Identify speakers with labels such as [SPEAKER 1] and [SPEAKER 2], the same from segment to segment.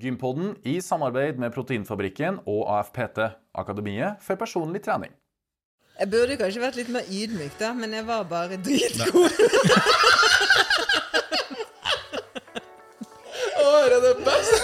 [SPEAKER 1] Gympodden i samarbeid med Proteinfabrikken og AFPT, Akademiet for personlig trening.
[SPEAKER 2] Jeg burde kanskje vært litt mer ydmyk, da, men jeg var bare dritgod.
[SPEAKER 3] Å, det er det beste!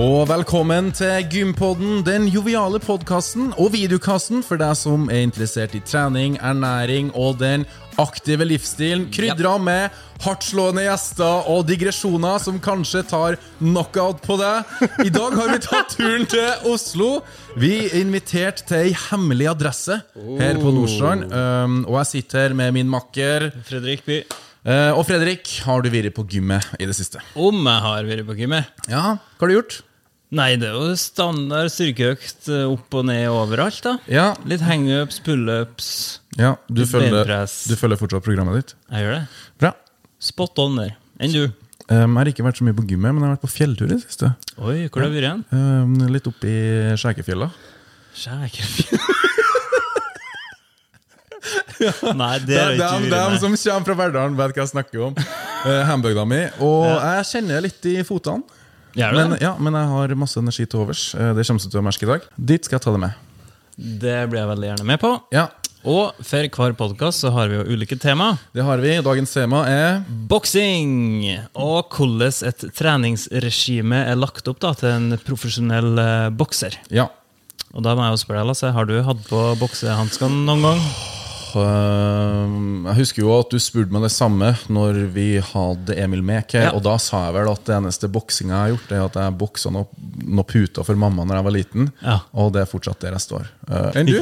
[SPEAKER 4] Og velkommen til Gympodden, den joviale podkasten og videokasten for deg som er interessert i trening, ernæring og den aktive livsstilen, krydra med hardtslående gjester og digresjoner som kanskje tar knockout på deg. I dag har vi tatt turen til Oslo. Vi er invitert til ei hemmelig adresse her på Nordstrand. Um, og jeg sitter her med min makker.
[SPEAKER 5] Fredrik By.
[SPEAKER 4] Eh, og Fredrik, har du vært på gymmet i det siste?
[SPEAKER 5] Om jeg har vært på gymmet?
[SPEAKER 4] Ja, hva har du gjort?
[SPEAKER 5] Nei, det er jo standard styrkeøkt eh, opp og ned overalt, da.
[SPEAKER 4] Ja,
[SPEAKER 5] Litt hangups, pullups.
[SPEAKER 4] Ja, du
[SPEAKER 5] Litt
[SPEAKER 4] følger,
[SPEAKER 5] benpress.
[SPEAKER 4] du følger fortsatt programmet ditt?
[SPEAKER 5] Jeg gjør det.
[SPEAKER 4] Bra.
[SPEAKER 5] Spot on der. Enn du?
[SPEAKER 4] Um, jeg har ikke vært så mye på gymmet, men jeg har vært på fjelltur i det siste.
[SPEAKER 5] Oi, hvor har du vært hen?
[SPEAKER 4] Um, litt opp i Skjækefjella.
[SPEAKER 5] Skjækefjell. Nei, det
[SPEAKER 4] De,
[SPEAKER 5] har jeg ikke vært med.
[SPEAKER 4] som kommer fra Verdalen, vet hva jeg snakker om. Uh, Hambygda mi. Og jeg kjenner litt i fotene.
[SPEAKER 5] Gjør du
[SPEAKER 4] Men,
[SPEAKER 5] det?
[SPEAKER 4] ja, men jeg har masse energi til overs. Eh, det kommer du til å merke i dag. Dit skal jeg ta det med.
[SPEAKER 5] Det blir jeg veldig gjerne med på.
[SPEAKER 4] Ja,
[SPEAKER 5] Og for hver podkast så har vi jo ulike tema.
[SPEAKER 4] det har vi. Dagens tema er
[SPEAKER 5] Boksing! Og hvordan et treningsregime er lagt opp da, til en profesjonell eh, bokser.
[SPEAKER 4] Ja.
[SPEAKER 5] Og da må jeg jo spørre deg, Lasse, har du hatt på boksehanskene noen gang?
[SPEAKER 4] Um, jeg husker jo at du spurte meg det samme når vi hadde Emil Mek her.
[SPEAKER 5] Ja.
[SPEAKER 4] Og da sa jeg vel at det eneste boksinga jeg har gjort, er at jeg boksa noen noe puter for mamma når jeg var liten.
[SPEAKER 5] Ja.
[SPEAKER 4] Og det er fortsatt der jeg står. Uh, Enn du?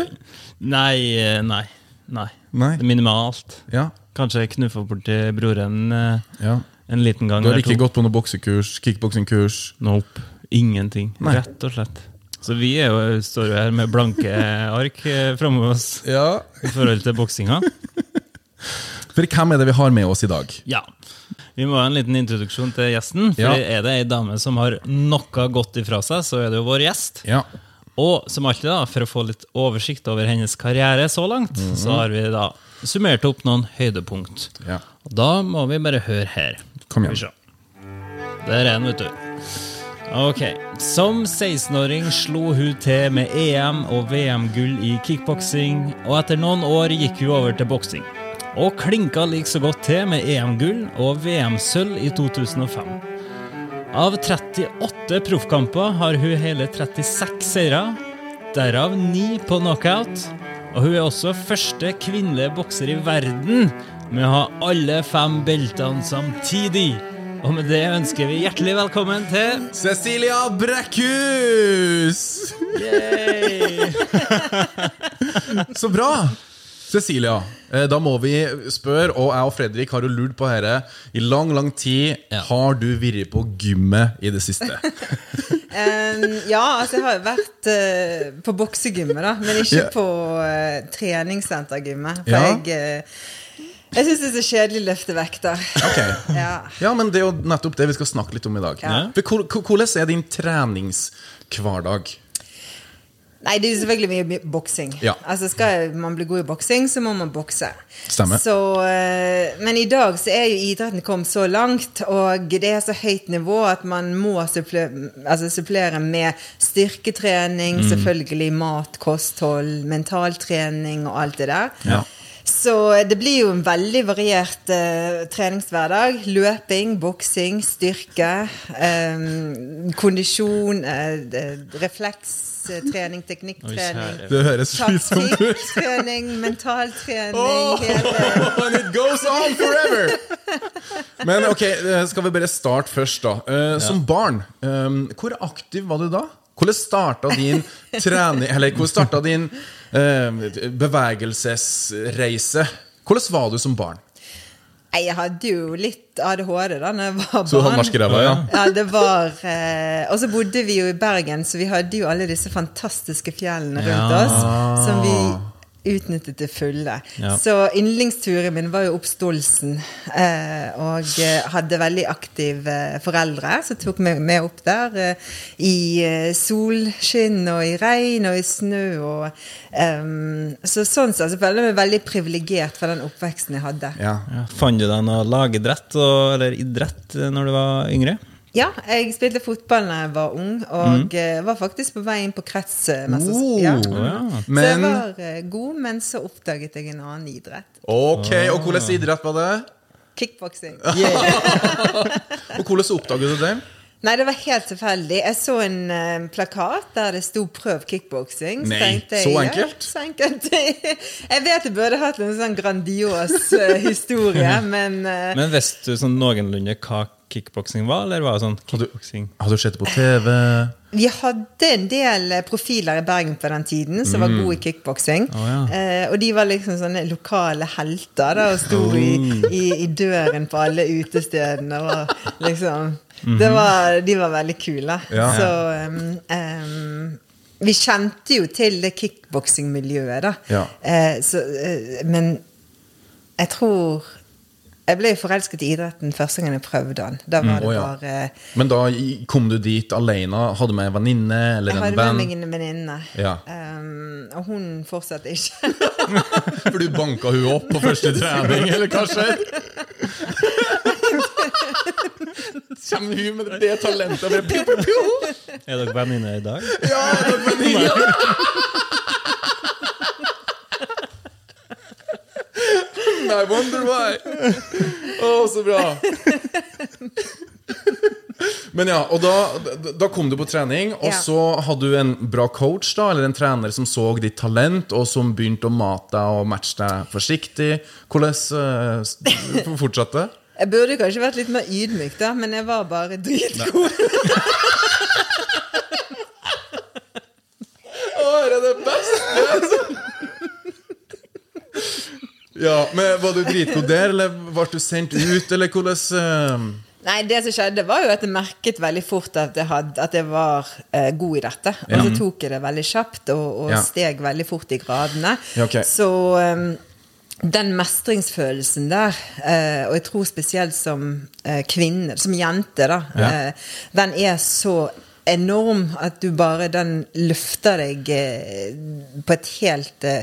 [SPEAKER 5] Nei, eh, nei, nei.
[SPEAKER 4] Nei.
[SPEAKER 5] Det er minimalt.
[SPEAKER 4] Ja.
[SPEAKER 5] Kanskje jeg knuffa borti broren eh,
[SPEAKER 4] ja.
[SPEAKER 5] en liten gang.
[SPEAKER 4] Du har
[SPEAKER 5] eller
[SPEAKER 4] ikke
[SPEAKER 5] to.
[SPEAKER 4] gått på noe boksekurs, kickboksingkurs?
[SPEAKER 5] Nope. Ingenting.
[SPEAKER 4] Nei.
[SPEAKER 5] Rett og slett. Så vi er jo, står jo her med blanke ark eh, framme oss
[SPEAKER 4] Ja.
[SPEAKER 5] i forhold til boksinga.
[SPEAKER 4] For hvem er det vi har med oss i dag?
[SPEAKER 5] Ja. Vi må ha en liten introduksjon til gjesten. For
[SPEAKER 4] Ja.
[SPEAKER 5] er det ei dame som har noe godt ifra seg, så er det jo vår gjest.
[SPEAKER 4] Ja.
[SPEAKER 5] Og som alltid, da, for å få litt oversikt over hennes karriere så langt,
[SPEAKER 4] Mhm.
[SPEAKER 5] så har vi da summert opp noen høydepunkt.
[SPEAKER 4] ja.
[SPEAKER 5] Og da må vi bare høre her.
[SPEAKER 4] Kom
[SPEAKER 5] Skal vi
[SPEAKER 4] igjen.
[SPEAKER 5] se. Der er den, vet du. Ok. Som 16-åring slo hun til med EM- og VM-gull i kickboksing, og etter noen år gikk hun over til boksing. Og klinka like så godt til med EM-gull og VM-sølv i 2005. Av 38 proffkamper har hun hele 36 seire, derav 9 på knockout. Og hun er også første kvinnelige bokser i verden med å ha alle fem beltene samtidig. Og med det ønsker vi hjertelig velkommen til
[SPEAKER 4] Cecilia Brekkhus! Så bra! Cecilia, eh, da må vi spørre, og jeg og Fredrik har jo lurt på dette i lang, lang tid.
[SPEAKER 5] Ja.
[SPEAKER 4] Har du vært på gymmet i det siste?
[SPEAKER 2] Em, ja, altså, jeg har jo vært eh, på boksegymmet, da, men ikke
[SPEAKER 4] Ja.
[SPEAKER 2] på eh, treningssentergymmet. For
[SPEAKER 4] Ja.
[SPEAKER 2] jeg, uh, jeg syns det er så kjedelig å løfte vekter.
[SPEAKER 4] Ok.
[SPEAKER 2] Ja.
[SPEAKER 4] Ja, men det er jo nettopp det vi skal snakke litt om i dag.
[SPEAKER 2] Ja.
[SPEAKER 4] For hvor- hvor- Hvordan er din treningshverdag?
[SPEAKER 2] Nei, det er jo selvfølgelig mye mye boksing.
[SPEAKER 4] Ja.
[SPEAKER 2] Altså Skal man bli god i boksing, så må man bokse.
[SPEAKER 4] Stemmer.
[SPEAKER 2] Så, eh, men i dag så er jo idretten kommet så langt, og det er så høyt nivå at man må supplere, altså supplere med styrketrening,
[SPEAKER 4] Mm.
[SPEAKER 2] selvfølgelig mat, kosthold, mentaltrening og alt det der.
[SPEAKER 4] Ja.
[SPEAKER 2] Så det blir jo en veldig variert eh, treningshverdag. Løping, boksing, styrke, eh, kondisjon, eh, d- reflekstrening, teknikktrening.
[SPEAKER 5] kjære.
[SPEAKER 4] Det høres slitsomt ut.
[SPEAKER 2] Taktikktrening, mentaltrening
[SPEAKER 4] Åh!
[SPEAKER 2] hele-
[SPEAKER 4] And it goes on forever! Men ok, eh, skal vi bare starte først, da. Eh, Som barn, eh, hvor aktiv var du da? Hvordan starta din trening Eller hvordan starta din eh, bevegelsesreise? Hvordan var du som barn?
[SPEAKER 2] Nei, jeg hadde jo litt ADHD da når jeg var barn.
[SPEAKER 4] Så du hadde marskeræva, ja.
[SPEAKER 2] Ja, det var eh, Og så bodde vi jo i Bergen, så vi hadde jo alle disse fantastiske fjellene rundt
[SPEAKER 5] Ja.
[SPEAKER 2] oss. Som vi utnyttet til fulle.
[SPEAKER 5] Ja.
[SPEAKER 2] Så yndlingsturen min var jo opp Stolsen. eh, Og eh, hadde veldig aktive eh, foreldre som tok meg med opp der. eh, I eh, solskinn og i regn og i snø og ehm, Så sånn sett så føler jeg meg veldig privilegert for den oppveksten jeg hadde.
[SPEAKER 4] Ja.
[SPEAKER 5] Ja, Fant du deg noe lagidrett og, eller idrett eh, når du var yngre?
[SPEAKER 2] Ja, jeg spilte fotball da jeg var ung, og eh, var faktisk på vei inn på kretsmesterskapet. Ja.
[SPEAKER 4] Mm. Oh,
[SPEAKER 5] ja.
[SPEAKER 2] Så jeg
[SPEAKER 4] Men
[SPEAKER 2] var eh, god, men så oppdaget jeg en annen idrett.
[SPEAKER 4] OK, og hvordan idrett var det?
[SPEAKER 2] Kickboksing.
[SPEAKER 4] Og hvordan oppdaget du det?
[SPEAKER 2] Nei, det var helt tilfeldig. Jeg så en eh, plakat der det sto 'prøv kickboksing'.
[SPEAKER 4] Nei,
[SPEAKER 2] tenkte jeg,
[SPEAKER 4] så
[SPEAKER 2] ja,
[SPEAKER 4] enkelt?
[SPEAKER 2] så enkelt. jeg vet jeg burde hatt en sånn grandios eh, historie, men eh,
[SPEAKER 5] Men visste du sånn noenlunde hva kickboksing var, eller var det sånn kickboksing?
[SPEAKER 4] Har du sett det på TV?
[SPEAKER 2] Vi hadde en del eh, profiler i Bergen på den tiden
[SPEAKER 4] Mm.
[SPEAKER 2] som var gode i kickboksing.
[SPEAKER 5] Å, ja.
[SPEAKER 2] eh, og de var liksom sånne lokale helter da, og sto i,
[SPEAKER 4] Oh.
[SPEAKER 2] i, i døren på alle utestedene. Og liksom, det var, de var veldig kule.
[SPEAKER 4] Mhm. Ja.
[SPEAKER 2] Så em, em, vi kjente jo til det kickboksingmiljøet, da.
[SPEAKER 4] Ja.
[SPEAKER 2] Eh, så, eh, men jeg tror Jeg ble jo forelsket i idretten første gang jeg prøvde den. Da var det
[SPEAKER 4] Mm. Å, ja.
[SPEAKER 2] bare
[SPEAKER 4] Men da kom du dit alene? Hadde med en venninne eller
[SPEAKER 2] jeg
[SPEAKER 4] en
[SPEAKER 2] hadde med
[SPEAKER 4] venn?
[SPEAKER 2] meg en venninne,
[SPEAKER 4] Ja.
[SPEAKER 2] Ehm, og hun fortsatte ikke.
[SPEAKER 4] For du banka hun opp på første trening, eller hva skjer? Kommer hun med det talentet? Bare, pew, pew, pew.
[SPEAKER 5] Er dere venninner i dag?
[SPEAKER 4] Ja, det er venninne. I wonder why. Å, så bra. Men ja, og da, da kom du på trening, og
[SPEAKER 2] Ja.
[SPEAKER 4] så hadde du en bra coach da, eller en trener som så ditt talent, og som begynte å mate deg og matche deg forsiktig. Hvordan eh, s- fortsatte det?
[SPEAKER 2] Jeg burde kanskje vært litt mer ydmyk, da, men jeg var bare dritgod.
[SPEAKER 4] Å, er det det beste? ja, men Var du dritgod der, eller ble du sendt ut, eller hvordan eh,
[SPEAKER 2] Nei, det som skjedde, var jo at jeg merket veldig fort at jeg, hadde, at jeg var eh, god i dette. Og så tok jeg det veldig kjapt, og, og
[SPEAKER 4] Ja.
[SPEAKER 2] steg veldig fort i gradene.
[SPEAKER 4] Ja, ok.
[SPEAKER 2] Så ehm, den mestringsfølelsen der, eh, og jeg tror spesielt som eh, kvinne, som jente, da,
[SPEAKER 4] Ja.
[SPEAKER 2] eh, den er så enorm at du bare Den løfter deg eh, på et helt eh,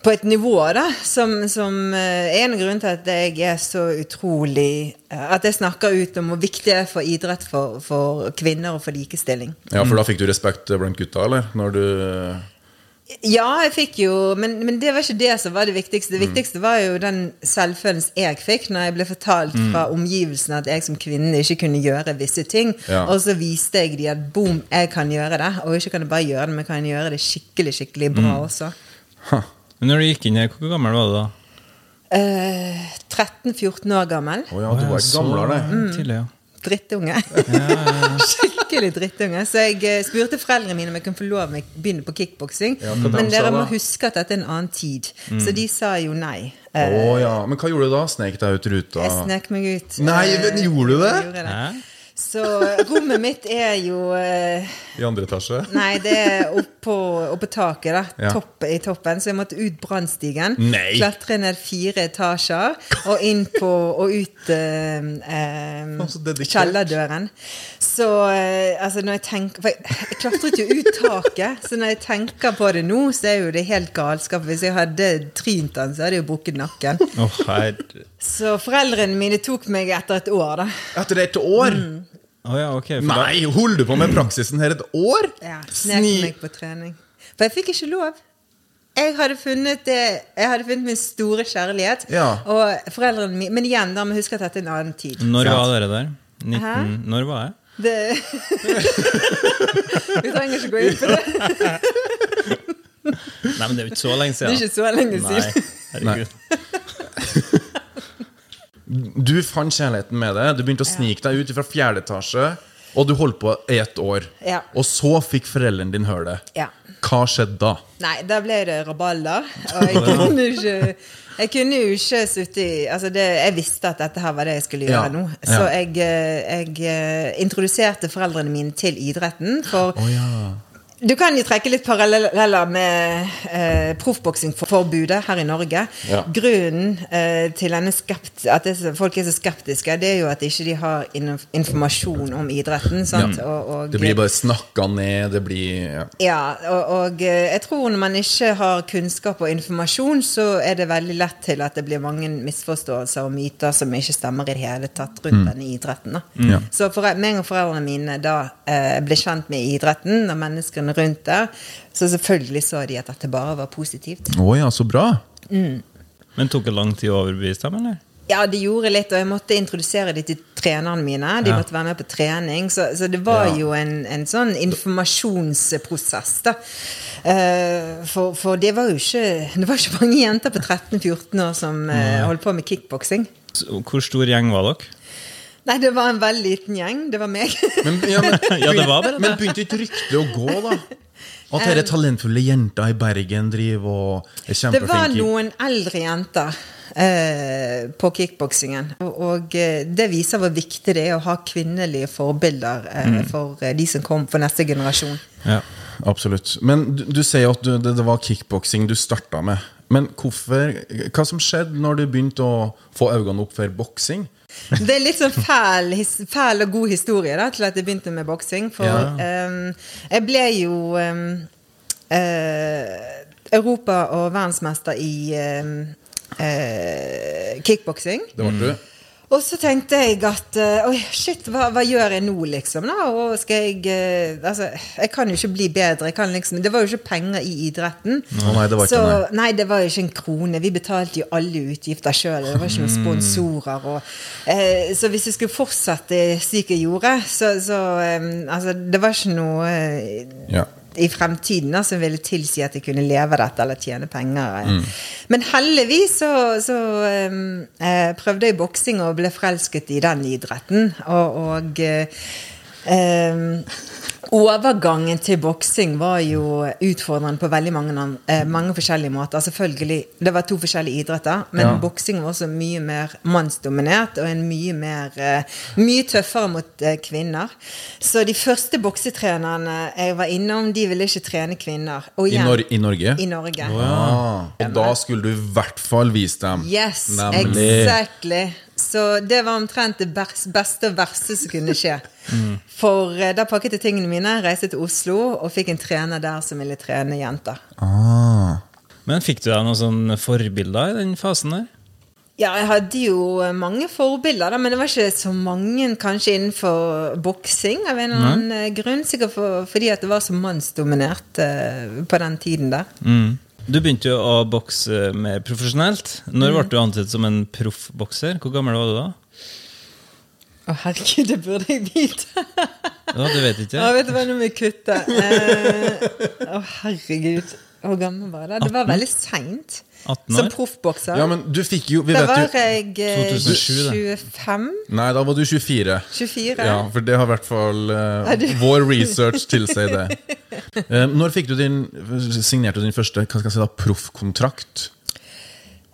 [SPEAKER 2] På et nivå, da, som, som eh, er en grunn til at jeg er så utrolig eh, At jeg snakker ut om hvor viktig det er for idrett for, for kvinner og for likestilling.
[SPEAKER 4] Ja, for da fikk du respekt blant gutta, eller? Når du eh,
[SPEAKER 2] Ja, jeg fikk jo men, men det var ikke det som var det
[SPEAKER 4] Mm.
[SPEAKER 2] viktigste. Det viktigste var jo den selvfølelsen jeg fikk når jeg ble fortalt
[SPEAKER 4] Mm.
[SPEAKER 2] fra omgivelsene at jeg som kvinne ikke kunne gjøre visse ting.
[SPEAKER 4] Ja.
[SPEAKER 2] Og så viste jeg dem at boom, jeg kan gjøre det. Og ikke kan jeg bare gjøre det, men kan jeg gjøre det skikkelig skikkelig bra
[SPEAKER 4] Mm.
[SPEAKER 2] også.
[SPEAKER 5] Men når du gikk inn her, hvor gammel var du da?
[SPEAKER 2] Eh, 13-14 år gammel.
[SPEAKER 4] Å ja, du var
[SPEAKER 5] Så Mm.
[SPEAKER 4] gamlere.
[SPEAKER 5] Tidlig, ja.
[SPEAKER 2] Drittunge. Skikkelig drittunge. Så jeg eh, spurte foreldrene mine om jeg kunne få lov til å begynne på kickboksing.
[SPEAKER 4] Ja, hva de sa
[SPEAKER 2] men
[SPEAKER 4] Mm.
[SPEAKER 2] dere må
[SPEAKER 4] da?
[SPEAKER 2] huske at dette er en annen tid. Så de sa jo nei.
[SPEAKER 4] Å
[SPEAKER 2] Eh,
[SPEAKER 4] ja. Men hva gjorde du da? Snek deg ut ruta?
[SPEAKER 2] Jeg snek meg ut.
[SPEAKER 4] Ah. Nei, men
[SPEAKER 2] Eh,
[SPEAKER 4] gjorde du det?
[SPEAKER 2] jeg gjorde
[SPEAKER 5] Hæ?
[SPEAKER 2] Så eh, rommet mitt er jo eh,
[SPEAKER 4] I andre etasje?
[SPEAKER 2] Nei, det er oppå, oppå taket, da.
[SPEAKER 4] Ja.
[SPEAKER 2] Topp, I toppen. Så jeg måtte ut brannstigen.
[SPEAKER 4] Nei.
[SPEAKER 2] Klatre ned fire etasjer og inn på og ut eh, eh,
[SPEAKER 4] Å, så Sånn dedikert.
[SPEAKER 2] kjellerdøren. Så eh, altså, når jeg tenker For jeg, jeg klatret jo ut taket, så når jeg tenker på det nå, så er jo det helt galskap. Hvis jeg hadde trynt den, så hadde jeg jo brukket nakken.
[SPEAKER 5] Å, herre...
[SPEAKER 2] Så foreldrene mine tok meg etter et år, da.
[SPEAKER 4] Etter et år?
[SPEAKER 5] Å ja, ok. For da,
[SPEAKER 4] Nei, holder du på med praksisen her et år?
[SPEAKER 2] Ja, snek meg på trening. For jeg fikk ikke lov. Jeg hadde funnet, det, jeg hadde funnet min store kjærlighet.
[SPEAKER 4] Ja. Mm.
[SPEAKER 2] Og foreldrene mine Men igjen, da må jeg huske at dette er en annen tid.
[SPEAKER 5] når var dere der? 19...
[SPEAKER 2] Hæ?
[SPEAKER 5] Når var jeg?
[SPEAKER 2] Det, vi trenger ikke gå inn på det.
[SPEAKER 5] Nei, men det er jo ikke så
[SPEAKER 2] Det
[SPEAKER 5] lenge siden.
[SPEAKER 2] er ikke så lenge siden.
[SPEAKER 5] Nei, herregud.
[SPEAKER 4] Du fant kjærligheten med det. Du begynte å snike deg ut fra fjerde etasje. Og du holdt på i ett år.
[SPEAKER 2] Ja.
[SPEAKER 4] Og så fikk foreldrene dine høre det.
[SPEAKER 2] Ja.
[SPEAKER 4] Hva skjedde da?
[SPEAKER 2] Nei, da ble det rabalder. Og jeg kunne jo ikke Jeg kunne jo ikke sitte i altså det, Jeg visste at dette her var det jeg skulle gjøre
[SPEAKER 4] Ja,
[SPEAKER 2] nå.
[SPEAKER 4] ja.
[SPEAKER 2] Så jeg, eh, jeg eh, introduserte foreldrene mine til idretten. For
[SPEAKER 4] Å ja.
[SPEAKER 2] Du kan jo trekke litt paralleller med eh, proffboksingforbudet her i Norge.
[SPEAKER 1] Ja.
[SPEAKER 2] Grunnen eh, til denne skept, at det, er så- folk er så skeptiske, det er jo at ikke de har inno- informasjon om idretten. Sant? Og, og,
[SPEAKER 4] Det blir bare snakka ned, det blir ja.
[SPEAKER 2] Ja, og, og eh, jeg tror når man ikke har kunnskap og informasjon, så er det veldig lett til at det blir mange misforståelser og myter som ikke stemmer i det hele tatt rundt denne idretten. Da.
[SPEAKER 4] Ja.
[SPEAKER 2] Så for, meg og foreldrene mine da eh, ble kjent med idretten og menneskene rundt der, så selvfølgelig så de at dette bare var positivt.
[SPEAKER 4] Å ja, så bra.
[SPEAKER 5] Men tok det lang tid å overbevise dem, eller?
[SPEAKER 2] Ja, det gjorde litt, og jeg måtte introdusere dem til trenerne mine. De
[SPEAKER 5] Ja.
[SPEAKER 2] måtte være med på trening. Så, så det var
[SPEAKER 5] Ja.
[SPEAKER 2] jo en, en sånn informasjonsprosess, da. Eh, for for det, var jo ikke, det var ikke mange jenter på 13-14 år som eh, holdt på med kickboksing.
[SPEAKER 5] S- Hvor stor gjeng var dere?
[SPEAKER 2] Nei, det var en veldig liten gjeng. Det var meg.
[SPEAKER 4] Men, ja, men,
[SPEAKER 5] Ja, det var bare det.
[SPEAKER 4] men begynte ikke ryktet å gå, da? Eh, At dere talentfulle jenta i Bergen driver og er
[SPEAKER 2] Det var
[SPEAKER 4] kjempeflinke?
[SPEAKER 2] noen eldre jenter eh, på kickboksingen. Og, og eh, det viser hvor viktig det er å ha kvinnelige forbilder eh,
[SPEAKER 5] Mm.
[SPEAKER 2] for eh, de som kommer for neste generasjon.
[SPEAKER 5] Ja.
[SPEAKER 4] Absolutt. Men du, du sier jo at du, det, det var kickboksing du starta med. Men hvorfor, hva som skjedde når du begynte å få øynene opp for boksing?
[SPEAKER 2] Det er litt sånn fæl, his, fæl og god historie da, til at jeg begynte med boksing. For
[SPEAKER 4] Ja.
[SPEAKER 2] ehm, jeg ble jo ehm, eh, Europa- og verdensmester i ehm, eh, kickboksing.
[SPEAKER 4] Det ble du?
[SPEAKER 2] Og så tenkte jeg at eh, Oi, shit, hva, hva gjør jeg nå, liksom? Da? Og skal jeg eh, Altså, jeg kan jo ikke bli bedre. Jeg kan liksom, det var jo ikke penger i idretten.
[SPEAKER 4] Å nei, det var ikke
[SPEAKER 2] så,
[SPEAKER 4] det.
[SPEAKER 2] nei, det var jo ikke en krone. Vi betalte jo alle utgifter sjøl. Det var ikke
[SPEAKER 4] Mm.
[SPEAKER 2] noen sponsorer. Og, eh, så hvis jeg skulle fortsette slik jeg gjorde, så, så eh, Altså, det var ikke noe eh,
[SPEAKER 4] Ja.
[SPEAKER 2] i fremtiden da, som ville tilsi at jeg kunne leve dette eller tjene penger. eh. Men heldigvis så, så um, eh, prøvde jeg boksing og ble forelsket i den idretten. Og, og eh, um, Overgangen til boksing var jo utfordrende på veldig mange, an- eh, mange forskjellige måter. Selvfølgelig, Det var to forskjellige idretter, men
[SPEAKER 4] Ja.
[SPEAKER 2] boksing var også mye mer mannsdominert og en mye, mer, eh, mye tøffere mot eh, kvinner. Så de første boksetrenerne jeg var innom, de ville ikke trene kvinner. Og
[SPEAKER 4] I,
[SPEAKER 2] igjen,
[SPEAKER 4] Nor I Norge?
[SPEAKER 2] i Norge.
[SPEAKER 4] Ah, og da skulle du i hvert fall vise dem.
[SPEAKER 2] Yes,
[SPEAKER 4] Nemlig.
[SPEAKER 2] exactly. Så det var omtrent det bers- beste og verste som kunne skje.
[SPEAKER 4] Mm.
[SPEAKER 2] For eh, da pakket jeg tingene mine, reiste til Oslo og fikk en trener der som ville trene jenter.
[SPEAKER 4] Ah.
[SPEAKER 5] Men fikk du deg noen sånne forbilder i den fasen der?
[SPEAKER 2] Ja, jeg hadde jo eh, mange forbilder, da, men det var ikke så mange kanskje innenfor boksing. Av en eller annen eh, grunn, sikkert for, fordi at det var så mannsdominert eh, på den tiden der.
[SPEAKER 4] Mm.
[SPEAKER 5] Du begynte jo å bokse mer profesjonelt.
[SPEAKER 2] Mm.
[SPEAKER 5] Når ble du ansett som en proffbokser? Hvor gammel var du da?
[SPEAKER 2] Å herregud, det burde jeg vite!
[SPEAKER 5] Ja, du vet ikke?
[SPEAKER 2] Ja, vet du hva, nå må jeg kutte. Eh, Å herregud. Hvor gammel var jeg da? Det var
[SPEAKER 5] 18?
[SPEAKER 2] veldig seint.
[SPEAKER 5] 18
[SPEAKER 2] Som
[SPEAKER 5] år?
[SPEAKER 2] proffbokser.
[SPEAKER 4] Ja, men du fikk jo Vi
[SPEAKER 2] da
[SPEAKER 4] vet
[SPEAKER 2] var
[SPEAKER 4] jo
[SPEAKER 2] jeg eh,
[SPEAKER 5] 2007,
[SPEAKER 2] 25?
[SPEAKER 4] Nei, da var du 24.
[SPEAKER 2] 24?
[SPEAKER 4] Ja, for det har i hvert fall eh,
[SPEAKER 2] Er du-
[SPEAKER 4] Vår research tilsier det. Eh, når fikk du din, signerte du din første hva skal jeg si da, proffkontrakt?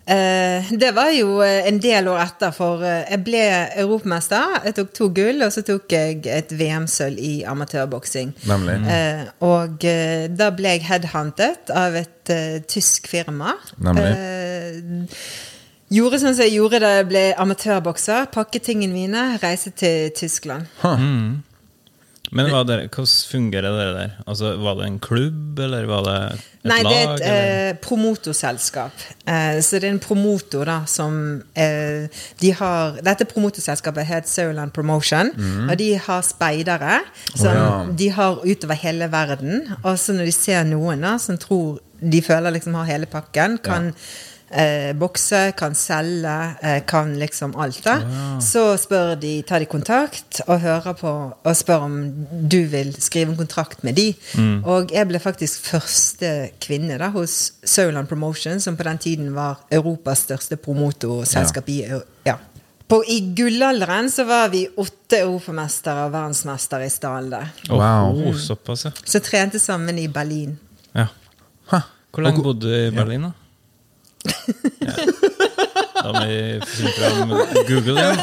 [SPEAKER 2] Eh, det var jo eh, en del år etter, for eh, jeg ble europamester. Jeg tok to gull, og så tok jeg et VM-sølv i amatørboksing.
[SPEAKER 4] Nemlig.
[SPEAKER 2] Eh, og eh, da ble jeg headhuntet av et eh, tysk firma.
[SPEAKER 4] Nemlig.
[SPEAKER 2] Eh, gjorde sånn som jeg gjorde da jeg ble amatørbokser. Pakket tingene mine, reiste til Tyskland.
[SPEAKER 5] Men var det, hvordan fungerer det der? Altså, var det en klubb, eller var det et
[SPEAKER 2] Nei,
[SPEAKER 5] lag?
[SPEAKER 2] det er et
[SPEAKER 5] eller?
[SPEAKER 2] eh, promotorselskap. Eh, så det er en promotor da som eh, De har Dette promotorselskapet heter Sauerland Promotion,
[SPEAKER 5] Mhm.
[SPEAKER 2] og de har speidere som
[SPEAKER 4] Å, ja.
[SPEAKER 2] de har utover hele verden. Og så når de ser noen da som tror de føler liksom har hele pakken, kan eh, bokse, kan selge, eh, kan liksom alt, da. Så spør de, tar de kontakt og hører på og spør om du vil skrive en kontrakt med de. Og jeg ble faktisk første kvinne da hos Sauland Promotion, som på den tiden var Europas største promotorselskap i Eu- ja. På, I gullalderen så var vi åtte europamestere og verdensmestere i stallen der.
[SPEAKER 5] Åh,
[SPEAKER 4] Wow.
[SPEAKER 5] åh, Oh, såpass, ja.
[SPEAKER 2] Så trente sammen i Berlin.
[SPEAKER 5] ja.
[SPEAKER 4] Hæ?
[SPEAKER 5] Hvor lenge bodde du i Berlin, da? Ja. Da må vi finne fram Google igjen.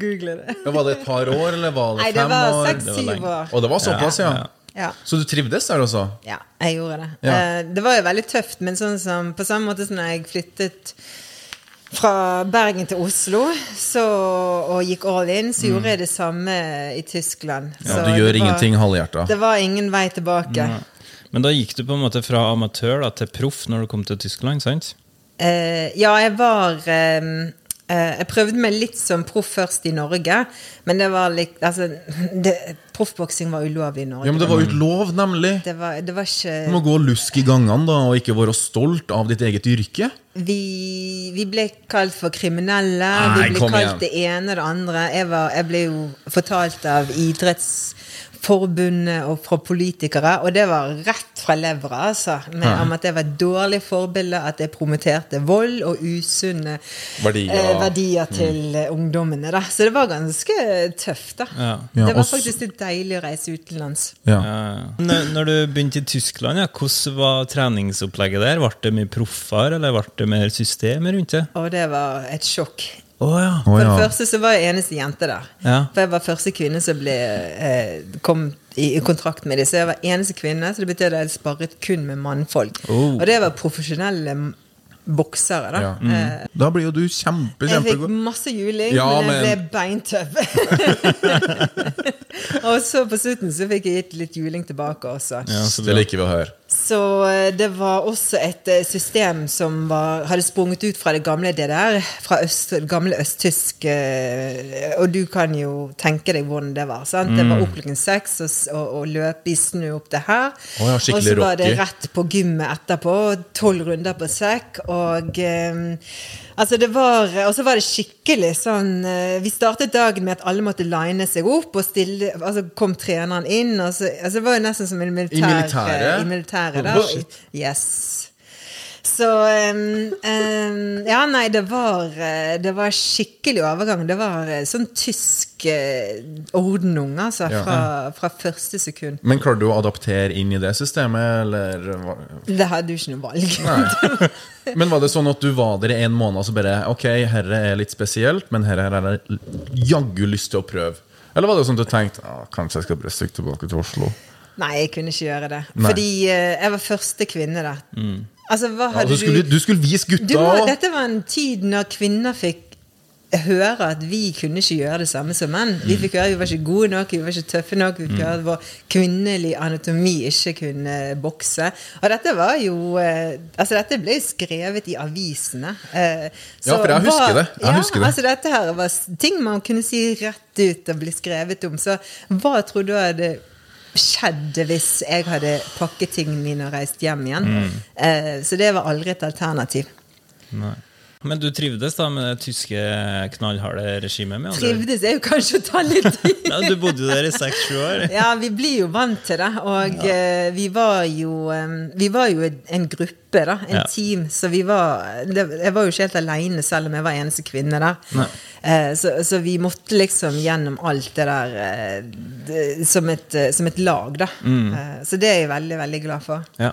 [SPEAKER 2] Google det.
[SPEAKER 4] Ja, var det et par år, eller var det
[SPEAKER 2] Nei, det
[SPEAKER 4] fem
[SPEAKER 2] var
[SPEAKER 4] år?
[SPEAKER 2] seks-syv år.
[SPEAKER 4] Og det var såpass, ja.
[SPEAKER 5] Ja,
[SPEAKER 2] Ja.
[SPEAKER 4] Så du trivdes der også?
[SPEAKER 2] Ja, jeg gjorde det.
[SPEAKER 4] Ja.
[SPEAKER 2] Eh, det var jo veldig tøft, men sånn som, på samme måte som når jeg flyttet fra Bergen til Oslo så, og gikk all in, så gjorde jeg det samme i Tyskland.
[SPEAKER 4] Mm. Ja,
[SPEAKER 2] Så
[SPEAKER 4] du Mm. gjør
[SPEAKER 2] det var-
[SPEAKER 4] ingenting halvhjerta.
[SPEAKER 2] Det var ingen vei tilbake.
[SPEAKER 5] Men da gikk du på en måte fra amatør da, til proff når du kom til Tyskland, sant?
[SPEAKER 2] Eh, ja, jeg var eh, eh, Jeg prøvde meg litt som proff først i Norge, men det var litt altså, det- Proffboksing var ulovlig i Norge.
[SPEAKER 4] Ja, men det var jo ikke lov, nemlig.
[SPEAKER 2] det, var, det var
[SPEAKER 4] Du
[SPEAKER 2] ikke
[SPEAKER 4] må gå lusk i gangene da, og ikke være stolt av ditt eget yrke.
[SPEAKER 2] Vi, vi ble kalt for kriminelle.
[SPEAKER 4] Nei,
[SPEAKER 2] vi ble
[SPEAKER 4] kom igjen.
[SPEAKER 2] kalt det ene og det andre. Jeg, var, jeg ble jo fortalt av Idrettsforbundet og fra politikere, og det var rett fra levra, altså. Med, om at det var et dårlig forbilde, at jeg promoterte vold og usunne
[SPEAKER 4] Verdier. Mm.
[SPEAKER 2] eh, verdier til eh, ungdommene. Da. Så det var ganske tøft, da.
[SPEAKER 5] Ja.
[SPEAKER 4] Ja,
[SPEAKER 2] det
[SPEAKER 4] og
[SPEAKER 2] var
[SPEAKER 4] s-
[SPEAKER 2] faktisk litt deilig å reise utenlands.
[SPEAKER 4] Ja.
[SPEAKER 5] Ja. Eh, Når når du begynte i Tyskland, ja, hvordan var treningsopplegget der? Ble det mye proffer, eller ble det mer system rundt det?
[SPEAKER 2] Og det var et sjokk.
[SPEAKER 5] Å ja.
[SPEAKER 4] Å,
[SPEAKER 2] For
[SPEAKER 4] ja.
[SPEAKER 2] det første så var jeg eneste jente der.
[SPEAKER 5] Ja.
[SPEAKER 2] For jeg var første kvinne som ble, eh, kom i, i kontrakt med dem. Så jeg var eneste kvinne, så det betød at jeg sparret kun med mannfolk.
[SPEAKER 5] Oh.
[SPEAKER 2] Og det var profesjonelle m- boksere, da.
[SPEAKER 4] Ja. Mm. Da blir jo du kjempe,
[SPEAKER 2] Eh, Jeg fikk
[SPEAKER 4] kjempegod.
[SPEAKER 2] masse juling,
[SPEAKER 4] Ja,
[SPEAKER 2] men jeg
[SPEAKER 4] men-
[SPEAKER 2] ble beintøff. og så på slutten så fikk jeg gitt litt juling tilbake også.
[SPEAKER 5] så
[SPEAKER 4] Det liker vi å høre.
[SPEAKER 2] Så eh, det var også et eh, system som var, hadde sprunget ut fra det gamle DDR, fra øst, gamle østtysk eh, Og du kan jo tenke deg hvordan det var. sant? Det
[SPEAKER 4] Mm.
[SPEAKER 2] var opp klokken seks og, s- og, og løpe i snø opp det her.
[SPEAKER 4] Å ja, skikkelig
[SPEAKER 2] og så var det
[SPEAKER 4] rocky.
[SPEAKER 2] rett på gymmet etterpå. Tolv runder på sekk. Og eh, altså det var, og så var det skikkelig sånn eh, Vi startet dagen med at alle måtte line seg opp, og stille, altså kom treneren inn. Og så, altså det var jo nesten som en militær,
[SPEAKER 4] militæret?
[SPEAKER 2] eh, I militæret
[SPEAKER 4] Oh,
[SPEAKER 2] da.
[SPEAKER 4] shit.
[SPEAKER 2] yes. Så em, em, Ja, nei, det var eh, Det var skikkelig overgang. Det var eh, sånn tysk eh, ordnung, altså,
[SPEAKER 4] Ja.
[SPEAKER 2] fra, fra første sekund.
[SPEAKER 4] Men klarte du å adaptere inn i det systemet, eller hva-
[SPEAKER 2] Det hadde du ikke noe valg.
[SPEAKER 4] Nei. Men var det sånn at du var der i en måned og så bare Ok, herre er litt spesielt, men herre her er det jaggu lyst til å prøve. Eller var det sånn at du tenkte «Ah, kanskje jeg skal bare stikke tilbake til Oslo?
[SPEAKER 2] Nei, jeg kunne ikke gjøre det.
[SPEAKER 4] Nei. Mm.
[SPEAKER 2] Fordi eh, jeg var første kvinne der. Altså, hva
[SPEAKER 4] Ja,
[SPEAKER 2] hadde
[SPEAKER 4] du, skulle,
[SPEAKER 2] du
[SPEAKER 4] du skulle vise
[SPEAKER 2] du må,
[SPEAKER 4] gutta!
[SPEAKER 2] Dette var en tid når kvinner fikk høre at vi kunne ikke gjøre det samme som menn.
[SPEAKER 4] Mm.
[SPEAKER 2] Vi fikk høre at vi var ikke gode nok, vi var ikke tøffe nok. Vi fikk høre at vår kvinnelige anatomi ikke kunne bokse. Og dette var jo eh, Altså, dette ble skrevet i avisene. eh,
[SPEAKER 4] Ja,
[SPEAKER 2] så
[SPEAKER 4] for jeg husker
[SPEAKER 2] hva-
[SPEAKER 4] det. Jeg
[SPEAKER 2] ja,
[SPEAKER 4] husker det.
[SPEAKER 2] Altså, dette her var s- ting man kunne si rett ut og bli skrevet om. Så hva tror du hadde skjedd hvis jeg hadde pakket tingene mine og reist hjem igjen?
[SPEAKER 4] Mm.
[SPEAKER 2] Eh, så det var aldri et alternativ.
[SPEAKER 5] Nei. Men du trivdes da med det tyske knallharde regimet? Med, andre ord?
[SPEAKER 2] Trivdes er jo kanskje å ta litt i.
[SPEAKER 5] ja, du bodde jo der i seks-sju år.
[SPEAKER 2] Ja, vi blir jo vant til det. Og eh, vi var jo, eh, vi var jo en- en gruppe, da. En
[SPEAKER 5] Ja.
[SPEAKER 2] team. Så vi var det, Jeg var jo ikke helt aleine, selv om jeg var eneste kvinne der. Eh, så, så vi måtte liksom gjennom alt det der eh, det, som, et, eh, som et lag, da. Eh, så det er jeg veldig, veldig glad for.
[SPEAKER 5] Ja.